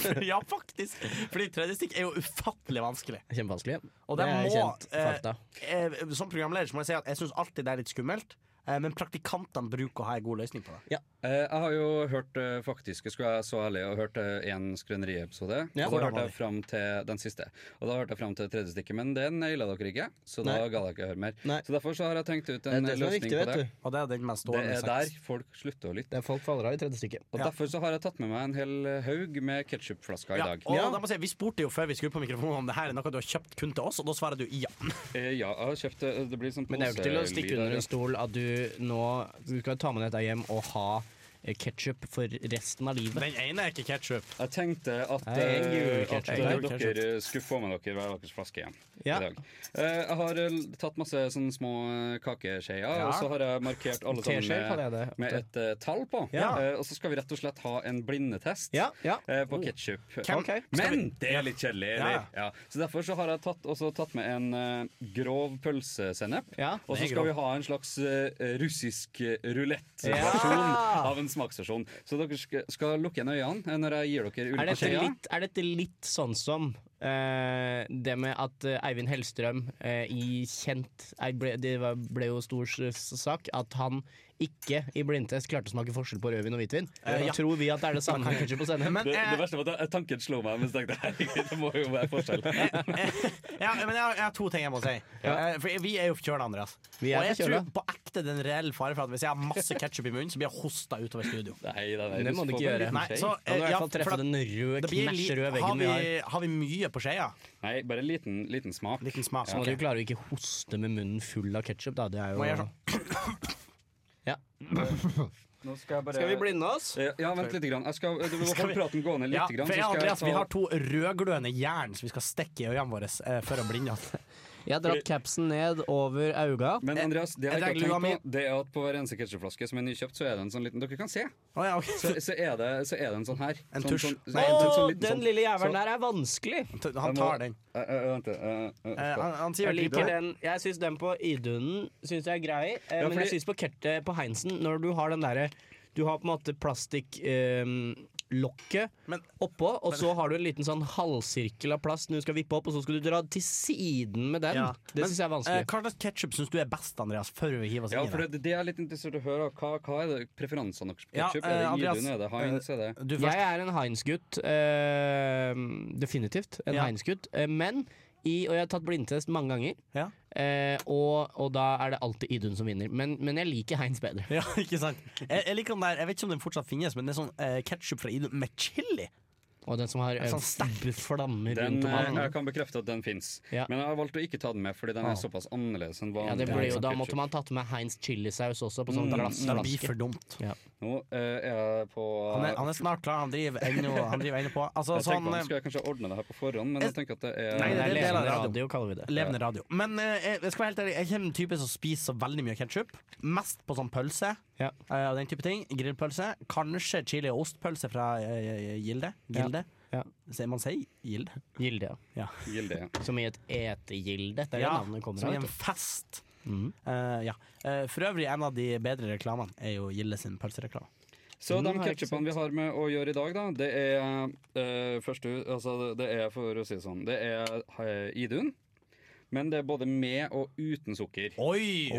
D: ja, faktisk! Fordi tredje stikk er jo ufattelig vanskelig.
B: Kjempevanskelig.
D: Og det må,
B: kjent
D: eh,
B: fakta.
D: Eh, Som programleder så må jeg si at jeg syns alltid det er litt skummelt, eh, men praktikantene bruker å ha en god løsning på det.
C: Eh, jeg har jo hørt eh, faktisk, jeg skulle være så ærlig, og hørt én Skrøneriet-episode.
B: Ja.
C: og da
D: Hvordan var
C: hørte
D: de?
C: jeg fram til den siste. Og da hørte jeg fram til det tredje stikket, men den naila dere ikke. Så da
B: Nei.
C: gadd jeg ikke høre mer.
B: Nei.
C: Så derfor så har jeg tenkt ut
B: Det er
C: en
B: det som er
C: løsning
B: viktig,
C: på
B: vet
C: det.
B: du.
D: Og det er den mest
C: Det
D: stående
C: er der folk slutter å lytte.
B: Det er folk faller av i tredje stykket.
C: Og
D: Ja.
C: Derfor så har jeg tatt med meg en hel haug med ketsjupflasker
D: Ja,
C: i dag.
D: og
B: Ja.
D: da må jeg si, Vi spurte jo før vi skulle på mikrofonen om det her er noe du har kjøpt kun til oss, og da svarer du ja.
C: Eh, ja, jeg har kjøpt det. Det blir sånn
B: Men det er jo ikke til å
C: poselyd
B: stikke
C: her,
B: under
C: ja.
B: en stol at du nå Du skal ta med dette hjem og ha ketsjup for resten av livet.
D: Den ene er ikke ketsjup.
C: Jeg tenkte at,
B: Nei, jeg
C: eh,
B: gjorde ikke
C: at
B: det.
C: eh,
D: Jeg gjorde ikke
C: dere skulle få med dere hver deres flaske igjen
B: Ja.
C: i dag. Eh, Jeg har eh, tatt masse sånne små eh, kakeskjeer, og så har jeg markert alle
B: Teskjeer kaller jeg
C: sammen
B: det
C: med,
B: ofte.
C: med et eh, tall på.
B: Ja.
C: Eh, og så skal vi rett og slett ha en blindetest.
B: Ja, ja.
C: eh, På ketsjup.
D: Hvem-
B: Ok.
C: Men det er litt kjedelig,
D: Ja, ja.
C: eller? Ja. Så derfor så har jeg tatt, også tatt med en eh, grov pølsesennep.
B: Ja,
C: og
D: den er
C: så skal
D: grov.
C: vi ha en slags eh, russisk
B: Ja.
C: rulett-versjon av en smaksversjon. Så dere skal, skal lukke igjen øynene eh, når jeg gir dere
B: Er
C: ulike
B: dette
C: skjeer.
B: litt, Eh, er dette litt sånn som eh, det med at eh, Eivind Hellstrøm eh, i Kjent eh, ble, Det var- ble jo stor s- sak at han ikke i blindtest klarte å smake forskjell på rødvin og hvitvin.
D: Eh, ja.
B: Da tror vi at det er det samme med ketsjup og sennep.
D: Men,
C: Det, det
D: eh,
C: verste var at jeg- tanken slo meg, men så tenkte jeg herregud, det må jo være forskjell.
D: ja, men jeg, har- jeg har to ting jeg må si. Eh, For vi er jo forkjøla, Andreas.
B: Vi er
D: og jeg
B: forkjøla.
D: tror på ekte den reelle fare for at hvis jeg har masse ketsjup i munnen, så blir jeg hosta utover studio.
C: Nei, nei, nei,
B: Det må du
C: får
B: ikke
C: bare
B: gjøre.
C: en liten
D: Nei,
C: skje.
D: så,
B: Da må du i
D: eh, ja,
B: hvert fall
D: for
B: treffe
D: at
B: den røde,
D: det blir li-
B: knæsj røde
D: har
B: veggen vi har.
D: vi, har vi mye på skeia?
C: nei, bare en liten, liten smak.
D: Liten smak.
B: Så må
D: Ok.
B: du klare å ikke hoste med munnen full av ketsjup, da. Det er jo
D: Må jeg gjøre sånn?
C: Nå skal jeg bare
B: blinde oss?
C: Eh, Ja, vent litt. Grann. Jeg skal, du må holde praten gående litt.
D: Ja,
C: grann,
D: for
C: så skal jeg
D: jeg og Andreas, vi
C: ta-
D: har to rødglødende jern som vi skal stikke i øynene våre eh, for å blinde oss.
B: Jeg har dratt capsen ned over auga.
D: Eh,
C: Men Andreas, det jeg
D: jeg
C: ikke
D: tenker
C: har
D: lua
C: tenkt på, det er at på hver eneste ketsjupflaske som er nykjøpt, så er det en sånn liten Dere kan se!
D: Å ja, ok.
C: Så, så, er, det, så er det en sånn her.
D: Hm. En
C: sånn,
D: tusj.
C: Sånn,
D: Nei,
C: en sånn- sånn
B: Å,
C: liten
B: den
C: sånn-
B: lille jævelen
C: så-
B: der er vanskelig!
C: Jeg
D: Han
C: må-
D: tar den.
C: Eh, eh, Vent, eh, eh,
D: Eh,
C: stopp.
D: han, han sier
B: Jeg
D: vel
B: liker
D: liker det.
B: den. Jeg syns den på Idunen syns jeg er grei, eh,
C: Ja,
B: men jeg
C: fordi-
B: syns på Kertet på Heinsen, når du har den derre Du har på en måte plastikklokket
D: Men-
B: oppå, og så har du en liten sånn halvsirkel av plast når du skal vippe opp, og så skal du dra til siden med den.
D: Ja.
B: Det syns jeg er
D: Eh,
B: vanskelig.
D: hva slags ketsjup syns du er best, Andreas, før vi hiver oss
C: Ja,
D: inn
C: for
D: i det?
C: det, det er litt interessert å høre. Hva, hva er det preferansene deres på
D: Ja,
C: ketsjup?
D: eh,
C: er det
D: Andreas,
C: Idun, er det Heinz, er det
D: Du
B: Jeg
D: først.
B: er en Heinz-gutt. eh, definitivt en
D: Ja.
B: Heinz-gutt. eh, men i, og jeg har tatt blindtest mange ganger,
D: Ja.
B: eh, og, og da er det alltid Idun som vinner. Men, men jeg liker Heinz bedre.
D: ja, ikke sant? Jeg, jeg liker den der, jeg vet ikke om den fortsatt finnes, men det er sånn eh, ketsjup fra Idun med chili.
B: Og den som har eh,
D: sånn sterk-
B: flammer
C: Den,
B: rundt om
C: eh, jeg
B: den.
C: kan bekrefte at den fins,
B: Ja.
C: men jeg har valgt å ikke ta den med fordi den er såpass annerledes enn
B: Ja,
C: vanlig.
B: det ble jo,
C: sånn
B: da
C: ketchup. Mm,
B: måtte man tatt med Heinz chilisaus også, på sånn
D: Det blir
B: glassflaske.
D: for dumt.
C: Nå eh, er jeg på
D: Han er, han er snart klar, han driver ennå, han driver ennå på. Altså,
C: Jeg
D: sånn,
C: tenkte man
D: eh,
C: skulle jeg kanskje ordne det her på forhånd, men jeg tenker at det er
B: Det er
D: Nei, det er del av
B: levende
D: radioen.
B: radio, kaller vi det.
D: Levende radio. Men eh, jeg- jeg skal være helt ærlig, jeg kjenner en type som spiser så veldig mye ketsjup. Mest på sånn pølse
B: Ja.
D: eh, og den type ting. Grillpølse. Kanskje chili- og ostpølse fra eh, Gilde. Gilde.
B: Ja.
D: Se, Man sier Gilde.
B: Gilde, ja.
C: gilde.
B: Som i et etegilde. Det er jo
D: Ja,
B: navnet kommer
D: som i
B: av.
D: en
B: vet du. Mm.
D: fest Eh, ja. Eh, for øvrig, en av de bedre reklamene er jo Gilde sin pølsereklame. Mm,
C: Så de
B: Den har jeg ikke
C: ketchupene vi har med å gjøre i dag, da, det er eh, først ut, altså det- det er for å si det sånn, det er eh, Idun, men det er både med og uten sukker.
D: Oi!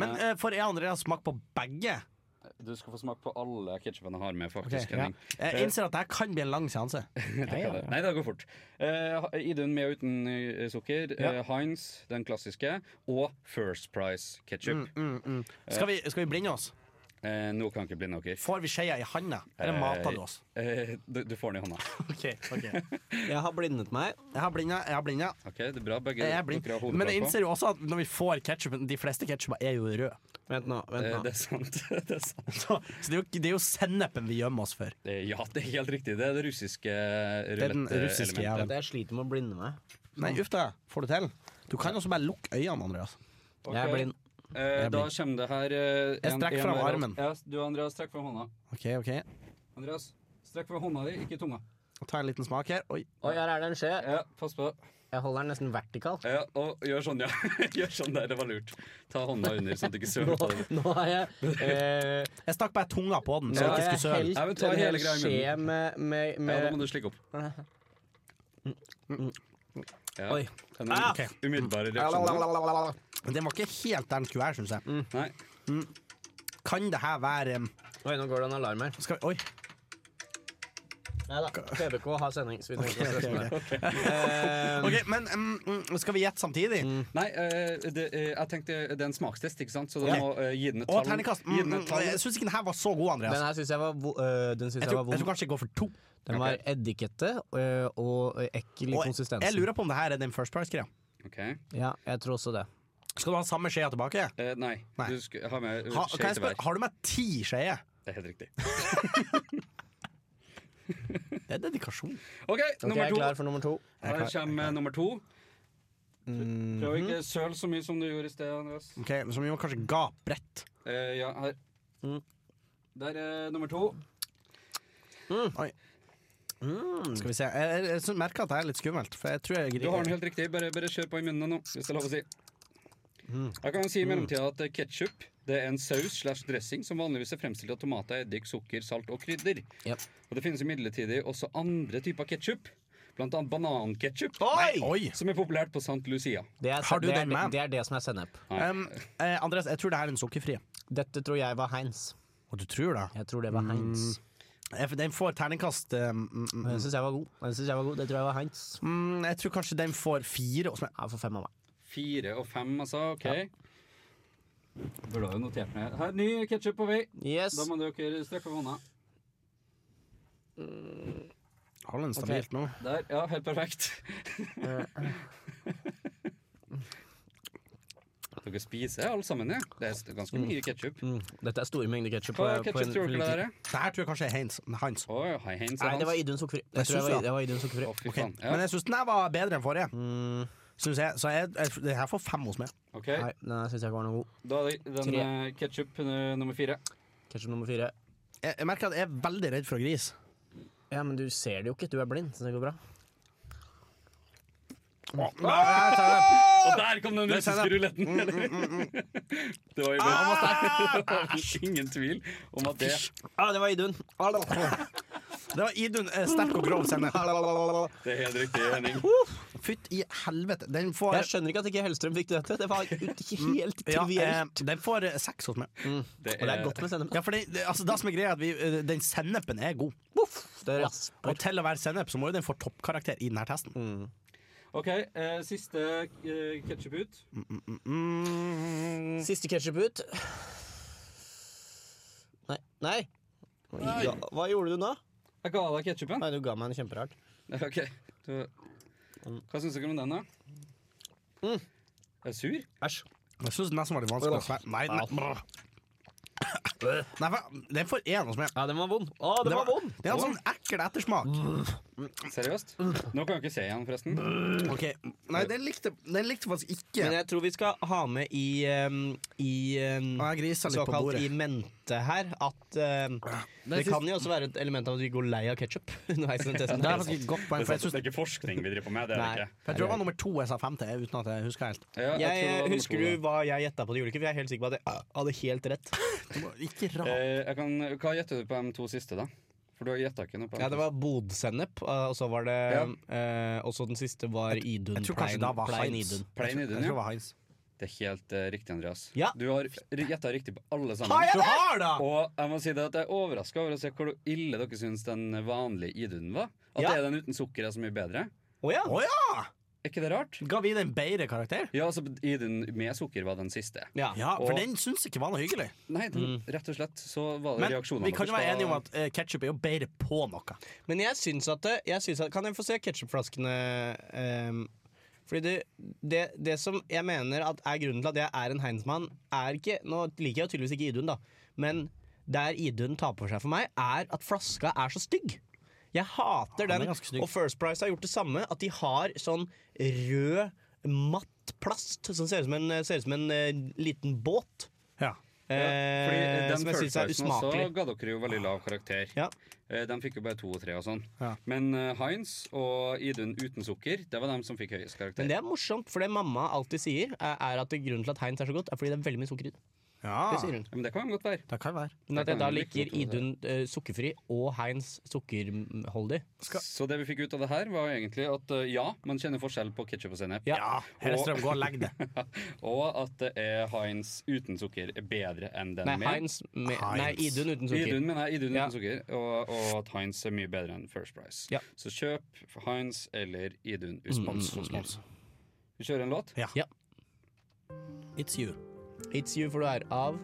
D: Men eh, for jeg og Andreas smak på begge.
C: Du skal få smake på alle ketchupene jeg har med,
D: Ok,
C: faktisk.
D: ja.
C: Henning.
D: Jeg Eh, innser at dette kan bli en lang seanse.
C: Det kan det. Nei, det går fort. Eh, Idun med og uten eh, sukker, eh, Heinz, den klassiske, og First Price ketchup.
D: Mm, Skal vi, skal vi blinde oss?
C: Eh, nå kan jeg ikke blinde dere.
D: Får vi skeia i handa, eller mater du oss?
C: Eh, du, du får den i hånda.
D: Ok, ok Jeg
B: Jeg har blindet meg.
D: har blinda, jeg har blinda.
C: Ok, det er bra. Begge
D: Jeg er
C: dere har
D: blind.
C: hodeplagg
D: Men jeg
C: på.
D: innser jo også at når vi får ketsjupen De fleste ketsjuper er jo røde.
B: Vent nå.
C: Eh,
B: vent
C: det
B: nå
C: er sant. det er sant.
D: Så, så det, er jo, det er jo sennepen vi gjemmer oss for.
C: Eh, Ja, det er helt riktig. Det er det russiske eh,
D: den russiske jævelen.
C: rulette-elementet.
B: Jeg sliter med å blinde meg.
D: Nei, uff da. Får du til? Du kan også bare lukke øynene, Andreas.
B: Jeg er
C: Ok.
B: blind.
C: Eh, da kommer det her eh,
D: Jeg
C: en-
D: strekker
C: en
D: fram
C: hver av-
D: armen.
C: Ja, du, Andreas, strekk fram hånda.
D: Ok, ok
C: Andreas, strekk fram hånda di, ikke tunga.
D: Ta en liten smak her. Oi.
B: Oi, her er det en skje.
C: Ja, pass på.
B: Jeg holder den nesten vertikalt.
C: Ja, og gjør sånn, ja. gjør sånn der, det var lurt. Ta hånda under, sånn at du ikke søler
B: Nå,
C: på den.
B: nå har jeg eh,
D: Jeg stakk bare tunga på den,
B: Nå
D: så jeg
B: har
D: ikke
B: jeg
D: skulle søle.
C: Ja, men
B: helt
C: ta
B: en
C: hele
B: hel
C: greia i
B: skje med, med,
C: Ja, da
B: med
C: må du slikke opp. Ja.
B: Oi.
C: Den er
D: Ah, ok.
C: umiddelbare reaksjoner.
D: Men Den var ikke helt der den skulle være, syns jeg.
C: Nei.
D: Kan det her være um,
B: Oi, nå går det en alarm her.
D: Skal vi Oi.
B: Nei da. PBK har sending. Så vi trenger ikke å
D: ok,
B: stresse med det.
D: ok.
B: Eh,
D: Ok, men um, mm, skal vi gjette samtidig?
C: Nei, eh, det, eh, jeg tenkte det er en smakstest, ikke sant? Så da
D: Ja.
C: må eh, gi den et
D: Og
C: tall.
D: terningkast.
C: Gi
D: Mm,
C: den
D: mm,
C: et tall.
D: jeg syns ikke den her var så god,
B: Den
D: Andreas.
B: her syns jeg var, vo øh, den synes
D: Jeg
B: jeg
D: tror,
B: var
D: jeg tror
B: vond.
D: kanskje jeg går for to.
B: Den var eddikete øh, og ekkel i
D: Og jeg,
B: konsistensen.
D: jeg lurer på om det her er den First Price-greia.
C: Ok.
B: Ja, jeg tror også det.
D: Skal du ha samme skjea tilbake?
C: Eh, nei.
D: Nei.
C: Du skal ha med
D: Ha,
C: skje
D: kan jeg
C: til
D: spørre,
C: hver.
D: har du med ti skjeer?
C: Det er helt riktig.
D: Det er dedikasjon.
C: OK,
B: Ok,
C: nummer
B: jeg er
C: to.
B: klar for nummer to.
C: Her kommer eh, nummer to.
D: Mhm.
C: Prøv å ikke søle så mye som du gjorde i sted, Andreas.
D: Ok, Som jo kanskje ga bredt.
C: Eh, ja, her.
B: Mm.
C: Der er nummer to. Mm.
D: Oi. Skal vi se. Jeg, jeg, jeg syns- merker at det er litt skummelt, for jeg tror jeg
C: Du har den helt riktig. Bare, bare kjør på i munnen nå, hvis det er lov å si.
D: Mm.
C: Jeg kan si i mellomtida at ketsjup er en saus slash dressing som vanligvis er fremstilt av tomater, eddik, sukker, salt og krydder.
B: Yep.
C: Og det finnes imidlertid også andre typer ketsjup, blant annet bananketchup,
D: Oi! Oi.
C: som er populært på St. Lucia.
B: Det er,
D: Har du
B: det, er,
D: den med?
B: det er det som er sennep.
D: Um, eh, Andreas, jeg tror det her er den sukkerfrie.
B: Dette tror jeg var Heinz.
D: Og du tror det?
B: Jeg tror det var Heinz.
D: Eh, for Den får terningkast um, mm, mm,
B: Den syns jeg var god. Den synes jeg var god. Det tror jeg var Heinz.
D: mm, Jeg tror kanskje den får fire. og så-
B: Ja, for fem av meg.
C: Fire og fem, altså. OK. Burde ha jo notert ned. Her, ny ketsjup på vei.
B: Yes.
C: Da må dere strekke opp hånda.
D: Har den stabilt nå?
C: Der. Ja, helt perfekt. dere spiser alle sammen, ja. Det er ganske mye ketsjup.
B: Mm. Dette er store mengder ketsjup.
C: Hva ketsjup tror dere det er?
D: Det her tror jeg kanskje er Heinz. Heinz.
C: Å ja, hei, Heinz
B: Nei,
C: er
B: det var
C: hans.
B: Idun sukkerfri.
D: Jeg
B: Jeg tror jeg
D: synes det.
B: var, det var Idun sukkerfri.
C: Å, fy
D: Ok,
C: faen.
D: Men
C: Ja.
D: jeg syns den her var bedre enn forrige.
B: Mm,
D: Synes jeg, så jeg, jeg, det her får fem hos meg.
C: Ok,
B: nei, den syns jeg ikke var noe god.
C: Da er det
B: Tre.
C: den ketsjup nummer fire.
B: Ketchup nummer fire.
D: Jeg, jeg merker at jeg er veldig redd for å gris.
B: Ja, men du ser det jo ikke. Du er blind, så det går bra.
D: Åh, jeg tar det.
C: Og der kom den
D: Der sa
C: russiske
D: jeg
C: ruletten! det var jo det var ingen tvil om at det
B: Ah, det var Idun. Ah, da.
D: Det var Idun eh, sterk og grov sende.
C: Det er helt riktig, Henning.
D: Fytt i helvete. Den får
B: Jeg skjønner ikke at ikke Hellstrøm fikk dette. Det var ut- helt
D: Eh, ja,
B: trivielt.
D: eh, den får eh, seks hos meg.
C: Det
B: Og det er godt med sennep.
D: Ja, for det, det, altså, det som er greia, er at vi, eh, den sennepen er god.
B: Voff, Det rasper.
D: Og til å være sennep, så må jo den få toppkarakter i denne testen.
C: OK, eh, siste eh, ketsjup ut.
B: Siste ketsjup ut. Nei. Nei. Ja, hva gjorde du nå?
C: Jeg ga deg ketsjupen.
B: Nei, du ga meg en kjemperart.
C: OK. Du, hva syns dere om den, da?
B: Mm.
C: Er du sur?
B: Æsj.
D: Jeg syns nesten var litt vanskelig å svelge. Nei, nei, brr. nei, for- den får én hos meg.
B: Ja, den var vond. Å, den
D: Det
B: var vond!
D: Det er en sånn ek,
B: husker det etter smak.
C: Seriøst? Nå kan jeg ikke se igjen, forresten.
D: Ok,
F: Nei, den likte, den likte faktisk ikke.
B: Men jeg tror vi skal ha med i, ehm, i ehm,
F: Og jeg grisa litt på
B: såkalt
F: bordet.
B: i mente her at ehm, det kan jo også være et element av at vi går lei av ketsjup underveis i den testen.
D: Det er faktisk et godt poeng,
C: Det
D: for
C: er, sånn
D: jeg, synes,
C: det er ikke forskning vi driver på med. det er
B: Nei.
C: det ikke.
D: for jeg tror det var nummer to jeg sa fem til, uten at jeg husker helt.
C: Ja,
B: Jeg, eh,
C: tror det var nummer
B: husker du
C: to, da.
B: hva jeg gjetta på de ulike, for jeg er helt sikker på at jeg øh, hadde helt rett.
D: Du må- Ikke rart.
C: Eh, jeg kan, hva gjetter du på de to siste, da? For du gjetta ikke noe på dem
B: Ja,
C: to
B: det var bodsennep, og så var det eh, Og så den siste var Idun.
D: Jeg tror kanskje
B: Plein-
D: da var
B: Plein
D: Heinz.
B: Idun.
C: Plein
D: Jeg
C: idun,
D: tror det
C: ja.
D: var Heinz.
C: Det er helt eh, riktig, Andreas.
B: Ja.
C: Du har gjetta riktig på alle sammen.
B: Har jeg
D: Du har da!
C: Og jeg må si det at jeg er overraska over å se hvor ille dere syns den vanlige idunen var. At
B: Ja.
C: det er den uten sukker er så mye bedre.
B: Å ja.
D: Å ja!
C: Er ikke det rart?
D: Ga vi den bedre karakter?
C: Ja, altså idunen med sukker var den siste.
B: ja.
D: Ja, for
C: Og-
D: den syns ikke var noe hyggelig.
C: Nei, den, rett og slett så var det
D: Men
C: reaksjonene
D: vi kan jo
C: deres
D: være
C: var-
D: enige om at uh, ketsjup er jo bedre på noe.
B: Men jeg syns at, det- jeg syns at Kan jeg få se ketsjupflaskene? ehm, fordi det, det, det som jeg mener at er grunnen til at jeg er en Heinzmann, er ikke Nå liker jeg jo tydeligvis ikke Idun, da, men der Idun tar på seg for meg, er at flaska er så stygg. Jeg hater
D: Ja, den er
B: den.
D: ganske stygg.
B: Og First Price har gjort det samme, at de har sånn rød, matt plast som ser ut som en, ser ut som en eh, liten båt.
D: Ja.
C: Ja, fordi
B: eh,
C: den
B: som jeg syns er
C: følelsen også
B: usmakelig.
C: ga dere jo veldig lav karakter.
B: Ja.
C: Eh, De fikk jo bare to og tre og sånn.
D: Ja.
C: Men eh, Heinz og Idun uten sukker, det var dem som fikk høyest karakter.
B: Men det er morsomt, for det mamma alltid sier, er- er at det grunnen til at Heinz er så godt, er fordi det er veldig mye sukker i det.
D: ja.
B: Det sier hun.
C: Men det kan godt være.
D: Ah, Det kan være.
B: Men at
C: Det
B: jeg
C: kan
B: da
C: jeg like
B: liker
C: godt å
B: Idun eh, sukkerfri og Heinz sukkerholdig.
C: Så det vi fikk ut av det her, var jo egentlig at eh, ja, man kjenner forskjell på ketsjup og sennep.
B: Ja.
D: Ja, Hellstrøm, gå og legg det.
C: Og at det er Heinz uten sukker er bedre enn den
B: Nei,
C: med.
B: Heinz med, nei,
D: Heinz.
B: Idun uten sukker.
C: Idun mener jeg, Idun
B: Ja.
C: uten sukker, og, og at Heinz er mye bedre enn First Price.
B: Ja. Mm,
C: Så kjøp Heinz eller Idun uten sukker. Vi kjører en låt.
D: Ja.
B: Ja.
D: It's you.
B: It's you, for du er av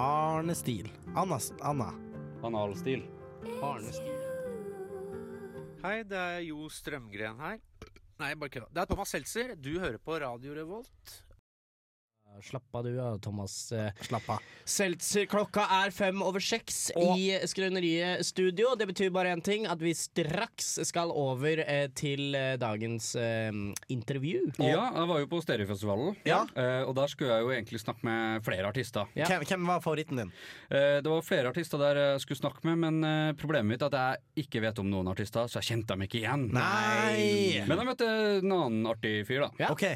D: Arne Stil. Anna. Anna.
C: Analstil.
B: Arne.
G: Hei, det er Jo Strømgren her. Nei, bare kødda. Det er Thomas Seltzer. Du hører på Radio Revolt.
B: Slapp av du, ja, Thomas. eh,
D: Slapp av.
B: Seltzer, klokka er fem over seks i Skrøneriet studio. Det betyr bare én ting, at vi straks skal over eh, til eh, dagens eh, intervju.
C: Ja, jeg var jo på Stereofestivalen,
D: Ja.
C: eh, og der skulle jeg jo egentlig snakke med flere artister.
B: Ja.
D: Hvem, hvem var favoritten din?
C: Eh, Det var flere artister der jeg skulle snakke med, men eh, problemet mitt er at jeg ikke vet om noen artister, så jeg kjente dem ikke igjen.
D: Nei!
C: Men jeg møtte en annen artig fyr, da.
B: Ja.
D: OK,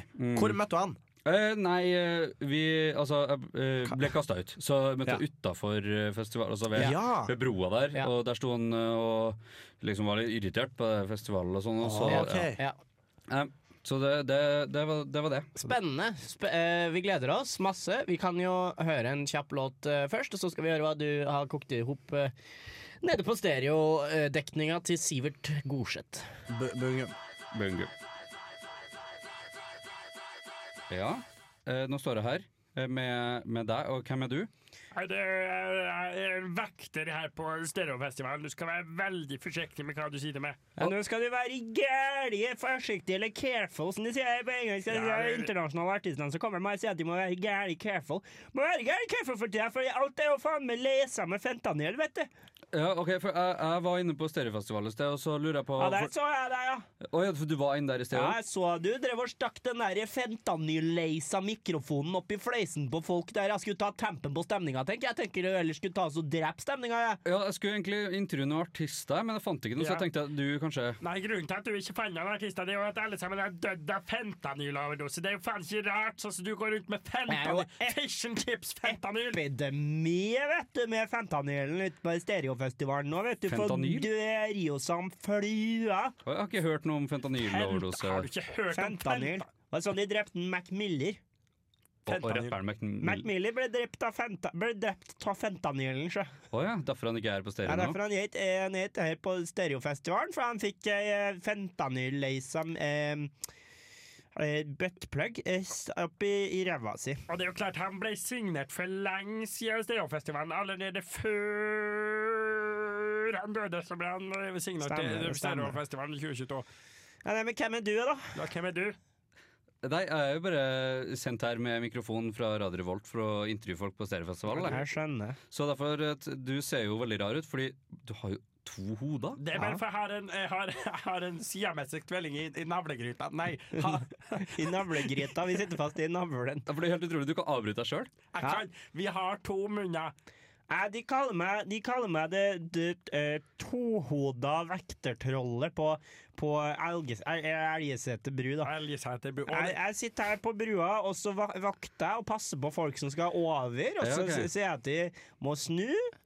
D: hvor
B: Mm.
D: møtte du han?
C: Eh, nei, eh, vi Altså, jeg eh, ble kasta ut. Så jeg møtte jeg utafor festivalen, altså ved,
D: Ja.
C: ved broa der.
B: Ja.
C: Og der sto han eh, og liksom var litt irritert på det festivalen og sånn. Og
B: Ah,
C: så
D: Ok.
C: ja.
B: Ja.
C: Eh, så det, det, det, var, det var det.
B: Spennende. Sp eh, vi gleder oss masse. Vi kan jo høre en kjapp låt eh, først, og så skal vi høre hva du har kokt i hop eh, nede på stereodekninga til Sivert Gorseth.
D: Bu- Bungum.
C: Bungu. Ja, eh, nå står jeg her eh, med, med deg, og hvem er du?
H: Nei, det er er vekter her på stereofestivalen. Du skal være veldig forsiktig med hva du sier til meg.
B: nå skal du være gæli forsiktig eller careful, som de sier på engelsk.
H: de der
B: internasjonale artistene som kommer og sier at de må være gæli careful. Må være gæli careful for tida, for alt er jo faen meg lesa med fentanyl, vet du.
C: Ja, ok, for jeg, jeg var inne på stereofestivalen i sted, og så lurer jeg på for,
B: så jeg deg, ja.
C: Å ja, for du var inne der i sted?
B: Ja,
C: også?
B: jeg så du drev og stakk den der fentanyl-leisa mikrofonen opp i fleisen på folk der. Jeg skulle ta tempen på stemninga, tenker jeg. Jeg tenker du ellers skulle ta oss og drepe stemninga, jeg.
C: Ja, jeg skulle egentlig intervjue noen artister, men jeg fant ikke noe, så
H: Ja.
C: jeg tenkte at du kanskje
H: Nei, Grunnen til at du ikke fant noen artister, det er jo at alle sammen er dødd av fentanyloverdose. Det er jo faen ikke rart, sånn som du går rundt med
B: Jeg er jo
H: fentanyl. Fish and chips fentanyl.
B: Epidemi, vet du, med fentanylen ute på stereofestivalen nå, vet du.
C: Fentanyl?
B: For dør jo som flua.
C: Å, Jeg har ikke hørt noe om
H: Fent,
C: fentanyloverdose.
H: har du ikke hørt om
B: Fentanyl.
H: fentanyl?
B: Det var sånn de drepte en Mac Miller.
C: Og, og rapperen
B: Mac
H: Mm.
C: McMill.
B: Miller ble drept av, fenta ble drept av fentanylen, sjø.
C: Å ja, derfor han ikke er på
B: Ja,
C: stereo nå?
B: derfor han het, eh, han het her på Stereofestivalen, for han fikk eh, fentanyl-leisa eh, eh, buttplug eh, s- oppi i ræva si.
H: Og det er jo klart, han ble signert for lenge siden i Stereofestivalen. Allerede før han døde, så ble han eh, signert
B: Stemmer,
H: til
B: det stemmer.
H: Stereofestivalen i 2022.
B: Ja, nei, men hvem er du, da?
H: Da, hvem er du?
C: Nei, jeg er jo bare sendt her med mikrofon fra Radio Revolt for å intervjue folk på stereofestivalen. jeg.
B: Jeg skjønner.
C: Så derfor, eh, t- du ser jo veldig rar ut, fordi du har jo to hoder?
D: Det er bare for jeg har en, jeg har, jeg har en siamesisk tvilling i, i navlegryta. Nei, ha,
B: I navlegryta. Vi sitter fast i navlen.
C: Ja, for Det er helt utrolig, du kan avbryte deg sjøl.
D: jeg kan. Vi har to munner.
B: Nei, de kaller meg, de kaller meg det, det eh, tohoda vektertrollet på, på Elges- El- Elgeseter bru, da.
D: Elgeseter bu-
B: Jeg,
D: Og
B: jeg sitter her på brua, og så va- vakter jeg og passer på folk som skal over, og
C: Ja,
B: så
C: ok.
B: s- sier jeg at de må snu.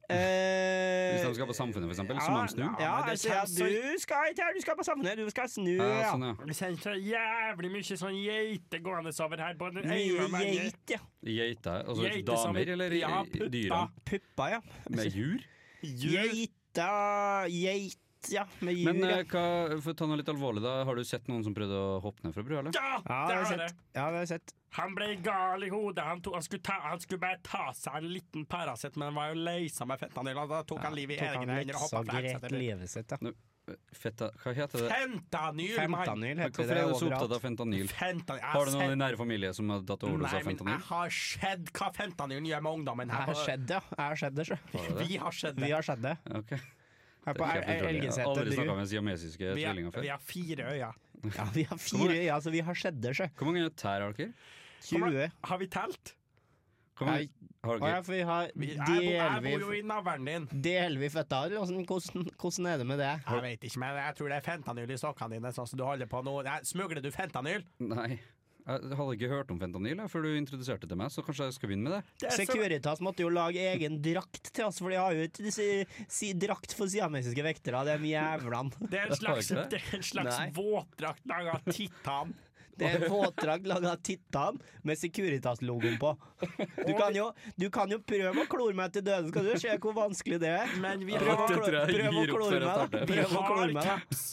B: Eh,
C: Hvis de skal på Samfunnet, for eksempel, så må de snu.
B: Ja,
D: Ja, men det
B: jeg sier at
D: kjennes så-
B: du skal ikke her, du skal på samfunnet, du skal snu.
C: Ja,
B: Ja,
C: sånn, ja.
D: det kjennes så jævlig mye sånn geite gående over her. På den
B: Mye
D: ene mange-
B: geit, ja.
C: Geiter? Altså
D: Geiter som-
C: damer eller i-
D: Ja,
C: i- dyra?
D: puppa.
B: Puppa, ja.
C: Med jur?
B: Geita, geit, ja. Med jur,
C: Men eh,
B: ja.
C: hva, for å ta noe litt alvorlig, da. Har du sett noen som prøvde å hoppe ned fra brua, eller?
B: Ja,
D: Ja, det
B: det har
D: har
B: jeg
D: det.
B: sett. Ja, det har jeg sett.
D: Han ble gal i hodet. Han, tok, han, skulle ta, han skulle bare ta seg en liten Paracet, men han var jo lei seg med fentanyl. og Da tok han livet i
B: Tok
D: egne
B: han
D: hender og
B: leksa
D: hoppa fra
B: greit
D: Elgeseter.
B: livet sitt, ja.
C: Feta, hva heter det?
D: Fentanyl, mann!
B: Fentanyl
C: Men
B: heter
C: Hvorfor
B: det
C: er du så opptatt
B: overalt. altså,
C: av fentanyl?
D: Fentanyl. Jeg
C: Har du noen
D: sett-
C: i nære familie som har tatt overdose
D: Nei,
C: av
D: men jeg
C: fentanyl?
D: har sett hva fentanyl gjør med ungdommen
B: Jeg
D: her.
B: har skjedd, ja. Jeg har skjedd det, sjø.
C: Har du det?
D: Vi har sett
B: Vi
D: det.
B: har skjedd det. Her
C: Ok.
B: på
C: Det er kjempeutrolig. Jeg har
B: Elgeseter
C: Aldri snakka
B: bru.
C: med siamesiske
D: Vi har,
C: tvillinger før.
D: vi har fire øyne.
B: Ja, vi har fire øyne, så vi har skjedd det, sjø.
C: Hvor mange tær har dere?
B: 20.
D: Har vi telt?
C: Hvor mange-
B: Nei.
C: Har
B: Å ja,
C: dere?
B: for vi har
D: Vi- Jeg,
B: Deler
D: bo- jeg bor jo
B: vi
D: i navlen din.
B: Deler vi føtta, eller hvordan, hvordan, hvordan er det med det?
D: Jeg vet ikke, men jeg tror det er fentanyl i sokkene dine. Sånn som du holder på nå Nei, Smugler du fentanyl?
C: Nei. Jeg hadde ikke hørt om fentanyl jeg, før du introduserte det til meg, så kanskje jeg skal begynne med det.
D: Det er så-
B: Securitas måtte jo lage egen drakt til oss, for de har jo ikke si, si, drakt for siamesiske vektere, de jævlene.
D: Det er en slags,
C: Har ikke det?
D: det er en slags
B: Nei.
D: våtdrakt laga av titan.
B: Det er en våtdrakt laga av Titan med Securitas-logoen på. Du kan, jo, du kan jo prøve å klore meg til døde, skal du se hvor vanskelig det er.
D: Men vi
B: Prøv å
C: det
D: har,
B: klore-
C: tror
B: prøv
C: jeg jeg
B: å
C: gir opp
B: klore
C: før
B: meg,
C: jeg
B: da.
C: starter.
D: vi
B: Prøv å klore
D: har
B: meg. da.
D: caps.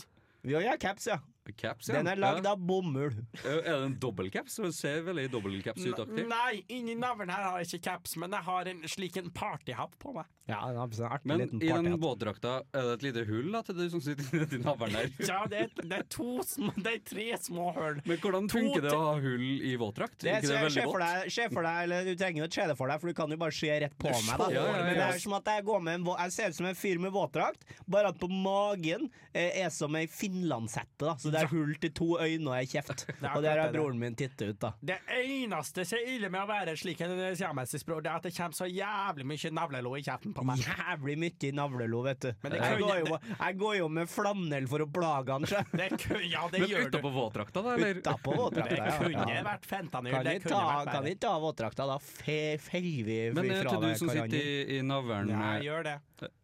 B: Jo, jeg har caps, ja.
C: Caps, ja.
B: Den er lagd
C: ja.
B: av bomull.
C: Er det en dobbeltcaps? Det ser veldig dobbeltcaps ut aktiv.
D: Nei, inni navlen her har jeg ikke caps, men jeg har en slik en partyhatt på meg.
B: Ja, den har en artig
C: Men
B: liten
C: i den
B: party.
C: båtdrakta er det et lite hull da, til du som sitter i navlen der.
D: Ja, det er, det er to små Det er tre små hull.
C: Men hvordan
D: To
C: funker det
D: til-
C: å ha hull i våtdrakt?
B: Det
C: Er ikke det
B: ser-
C: veldig
B: se for
C: godt?
B: deg, se for deg, eller du trenger jo ikke se det for deg, for du kan jo bare se rett på meg. da
C: Ja, ja, ja.
B: Men det er som at jeg, går med en, vå- jeg ser ut som en fyr med våtdrakt, bare at på magen eh, er som ei finlandshette. da Så det er hull til to øyne og ei kjeft.
D: er
B: Og der
D: akkurat
B: har
D: det, det.
B: broren min tittet ut, da.
D: Det eneste som er ille med å være slik en siamesisk bror, det er at det kommer så jævlig mye navlelo i kjeften på meg.
B: Jævlig mye i navlelo, vet du.
D: Men det
B: jeg,
D: kan-
B: går jo, jeg går jo med flanell for å plage han sjø.
D: Det kun, ja, det
C: Men
D: gjør du.
C: utapå våtdrakta, da? Eller?
B: Utapå
D: Det
B: våtdrakta,
D: kunne
B: ja. ja.
D: vært fentanyl.
B: Kan
D: det
B: vi
D: kunne
B: ta,
D: vært
B: kan
D: verre.
B: vi ta våtdrakta, da? Fe- Feier vi
C: Men eh,
B: fra
C: til du som sitter
B: hverandre?
C: i, i navlen
D: Nei,
C: med-
D: gjør det.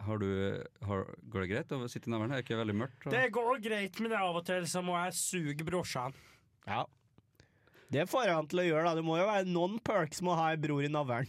C: har du, har, Går det greit å sitte i navlen? Er det ikke veldig mørkt?
D: Det går greit, men av og til så må jeg suge brorsan.
B: Ja. Det får han til å gjøre, da. Det må jo være noen perks med å ha en bror i navlen.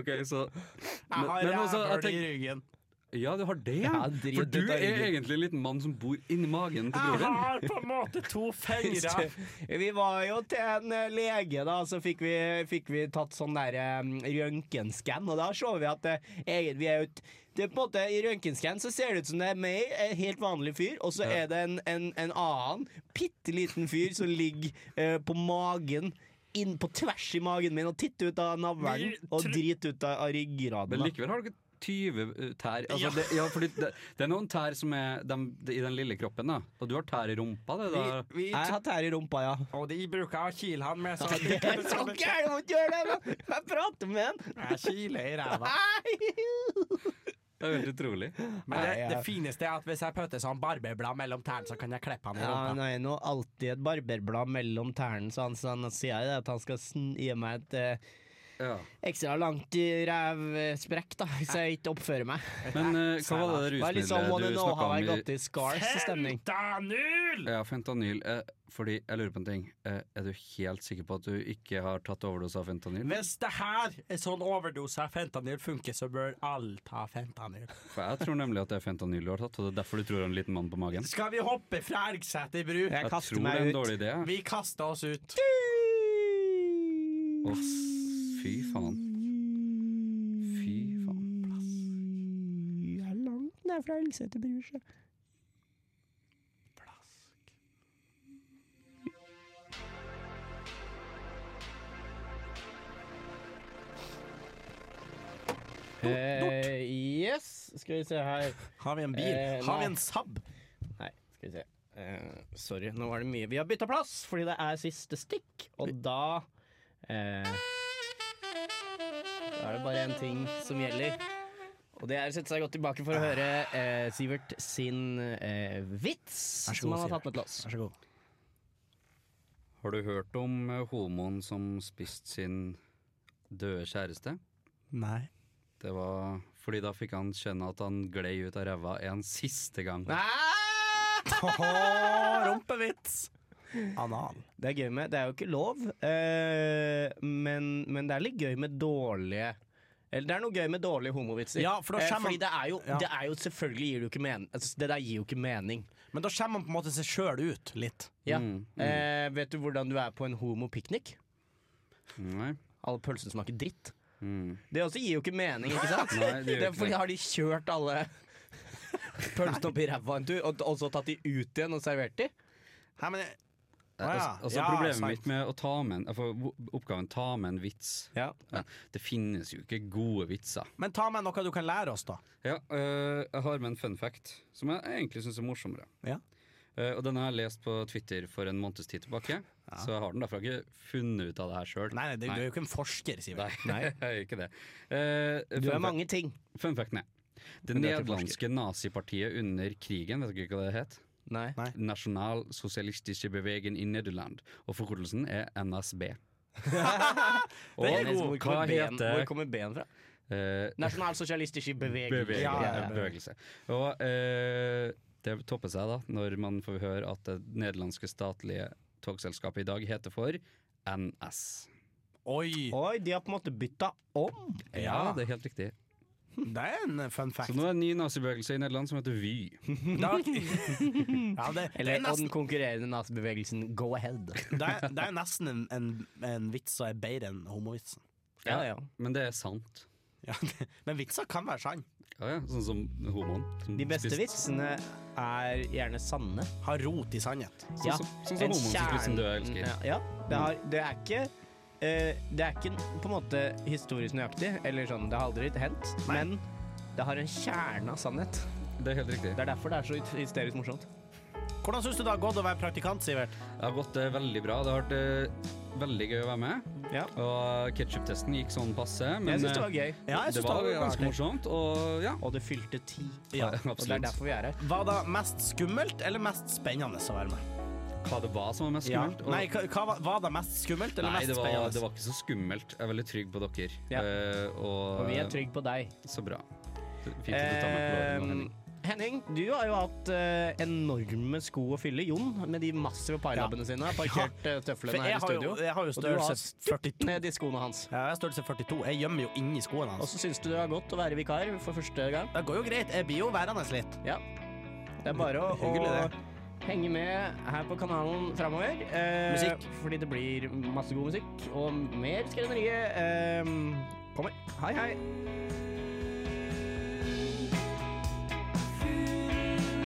C: Ok, så
D: Jeg har
C: men altså, jeg
D: rævhull i
C: tenk-
D: ryggen.
C: Ja, du har det,
B: Ja, drit
C: For
B: ut
C: du
B: av
C: er
B: ryggen.
C: egentlig en liten mann som bor inni magen til
D: Jeg
C: broren.
D: har på en måte to fingre.
B: Vi var jo til en eh, lege, da, så fikk vi, fikk vi tatt sånn der um, røntgenskann, og da så vi at eh, egen- vi er jo et- det er på en måte, I røntgenskann så ser det ut som det er meg, en helt vanlig fyr, og så er det en, en, en annen bitte liten fyr som ligger eh, på magen. Inn på tvers i magen min og titter ut av navlen
D: Vi
B: og
D: tru-
B: driter ut av av
C: Men
B: ryggraden. da.
C: likevel har du ikke 20 tær. Altså,
D: Ja.
C: Det, ja, fordi det, det er noen tær som er dem- det- i den lille kroppen, da. Og du har tær i rumpa. Det,
D: Vi,
C: da.
D: vi,
B: Jeg har tær i rumpa, ja.
D: og de bruker å kile han med sånn.
B: Det er så gærent å gjøre det! men Jeg prater med han.
D: Jeg kiler i ræva.
C: Det er helt utrolig.
D: Men det,
B: Nei, jeg-
D: det fineste er at hvis jeg putter sånn barberblad mellom tærne, så kan jeg klippe han i
B: Ja,
D: rumpa.
B: han har nå alltid et barberblad mellom tærne, så han, så han sier jeg det at han skal sn- gi meg et eh,
C: Ja.
B: ekstra langt i rævsprekk, da, hvis jeg ikke oppfører meg.
C: Men eh, hva var det
B: Det var litt
D: liksom
B: sånn
C: rusmiddelet
B: wanna
C: du
B: know
C: snakka
B: how I
C: om?
B: got
C: I,
B: this scars-stemning.
D: Fentanyl!
C: ja, fentanyl. Eh, fordi jeg lurer på en ting. Eh, er du helt sikker på at du ikke har tatt overdose av fentanyl?
D: Hvis det her er sånn overdose av fentanyl funker, så bør alle ta fentanyl.
C: For jeg tror nemlig at det er fentanyl du har tatt, og det er derfor du tror du har en liten mann på magen.
D: Skal vi hoppe fra Elgseter bru?
B: Jeg
C: Jeg
B: kaster
C: tror det er
B: meg
C: en
B: ut.
C: dårlig idé. jeg.
D: Vi kaster oss ut.
C: Å, fy faen. Fy faen.
B: Jeg er langt ned fra Elgseter bru, sjø. Eh, yes, skal vi se her
D: Har vi en bil?
B: Eh,
D: har vi
B: nei.
D: en Saab?
B: Nei, skal vi se. Eh, sorry, nå var det mye. Vi har bytta plass fordi det er siste stikk, og da eh, Da er det bare én ting som gjelder. Og det er å sette seg godt tilbake for å høre eh, Sivert sin eh, vits
D: Vær så
B: som
D: god,
B: han har
D: Sivert.
B: tatt med til oss.
D: Vær så god.
C: Har du hørt om eh, homoen som spiste sin døde kjæreste?
D: Nei.
C: Det var fordi da fikk han kjenne at han glei ut av ræva en siste gang.
D: Haha, rumpevits! Anal.
B: Det er gøy med Det er jo ikke lov, eh, men, men det er litt gøy med dårlige eller det er noe gøy med dårlige homovitser.
D: Ja, for
B: Eh,
D: da skjemmer-
B: fordi det er jo,
D: Ja.
B: det er jo selvfølgelig gir det jo ikke mening altså, Det der gir jo ikke mening.
D: Men da skjemmer man på en måte seg sjøl ut litt.
B: Ja.
C: Mm, mm.
B: Eh, vet du hvordan du er på en homopiknik?
C: Nei.
B: Alle pølsene smaker dritt.
C: Mm.
B: Det også gir jo ikke mening, ikke sant?
C: Nei, det
B: det
C: gjør
B: er
C: ikke
B: fordi
C: det.
B: har de kjørt alle pølsene opp i ræva en tur, og, og så tatt de ut igjen og servert de?
D: Hæ, men jeg-
C: Eh,
D: Å ja,
C: altså, altså
D: ja,
C: Problemet
D: sant.
C: mitt med å ta med en altså, oppgaven ta med en vits
B: Ja.
C: ja, Det finnes jo ikke gode vitser.
D: Men ta med noe du kan lære oss, da.
C: Ja, øh, jeg har med en fun fact som jeg egentlig syns er morsommere.
D: Ja.
C: Eh, og den har jeg lest på Twitter for en måneds tid tilbake, så jeg har den derfor ikke funnet ut av det her sjøl.
D: Nei, nei, det, du er jo ikke en forsker,
C: Nei,
D: Sivert.
C: jeg er ikke det. Eh,
B: Du er
C: fun fact-
B: mange ting.
C: Fun fact, nei. Det
B: Men du er ikke
C: nederlandske nazipartiet under krigen, vet dere ikke hva det het?
B: Nei.
C: Nasjonal Sosialistiske Bevegen i Nederland. Og forkortelsen er NSB. og
B: Men Hvor
C: hva
B: kommer ben- hvor
C: heter
B: kommer ben fra?
C: eh,
B: Nasjonalsosialistisk bevegelse.
C: bevegelse.
D: Ja, ja,
C: ja, bevegelse. Og eh, det topper seg da når man får høre at det nederlandske statlige togselskapet i dag heter for NS.
D: Oi!
B: Oi, de har på en måte bytta om.
C: Ja, det er helt riktig.
D: Det er en fun fact.
C: Så nå er det en ny nazibevegelse i Nederland som heter Vy.
D: Det er, ja, det, det,
B: Eller,
D: er
B: og den
D: nesten,
B: konkurrerende nazibevegelsen Go Ahead.
D: det, er, det er nesten en, en, en vits som er bedre enn homovitsen.
B: Ja, ja.
C: Men det er sant.
D: Ja, det- men vitser kan være sann.
C: Ja, ja, Sånn som homoen. Som
B: De beste
C: spiste-
B: vitsene er gjerne sanne.
D: Har rot i sannhet.
C: Sånn som- sånn som
B: en
C: homoen som spiser
B: kjerne-
C: en død elsker.
B: Ja, ja. Det, har, det er ikke eh, Det er ikke på en måte historisk nøyaktig, eller sånn, det har aldri hendt, men det har en kjerne av sannhet.
C: Det er helt riktig.
B: Det er derfor det er så hy- hysterisk morsomt.
D: Hvordan syns du det har gått å være praktikant, Sivert?
C: Det har gått eh, veldig bra. Det har vært eh, veldig ggøy å være med.
B: Ja.
C: Og ketchup-testen gikk sånn passe, men
B: Jeg syns det
C: eh,
B: var gøy.
D: Ja, jeg
C: det
D: synes
C: var
D: det var
C: ganske
D: artig.
C: morsomt. Og ja,
B: Og det fylte ti.
D: Ja,
B: Og det er
C: absolutt.
B: derfor vi er her.
D: Var det mest skummelt eller mest spennende å være med?
C: Hva det var som var mest
D: Ja.
C: skummelt? og-
D: Nei, hva, hva, var- var det mest skummelt eller
C: Nei,
D: mest
C: det var,
D: spennende?
C: det var ikke så skummelt. Jeg er veldig trygg på dere.
B: Ja.
C: Eh,
B: Og
C: og,
B: vi er trygge på deg.
C: Så bra. Fint at du tar meg på låret nå, Henning.
B: Eh, Henning, du har jo hatt eh, enorme sko å fylle. Jon, med de massive parilabbene sine, har parkert eh,
D: For
B: tøflene her
D: jeg
B: i
D: har,
B: studio.
D: jo, jeg har jo
B: og du har
D: størrelse 42.
B: ned i skoene hans.
D: Ja, jeg har størrelse 42. Jeg gjemmer jo inni skoene
B: Og
D: hans.
B: så syns du det var godt å være vikar for første gang.
D: Det går jo greit. Jeg blir jo værende litt.
B: Ja. Det er bare å,
D: Hyggelig, det.
B: å henge med her på kanalen framover. eh,
D: Musikk.
B: Fordi det blir masse god musikk og mer skrøneriet eh, kommer. Hei, hei.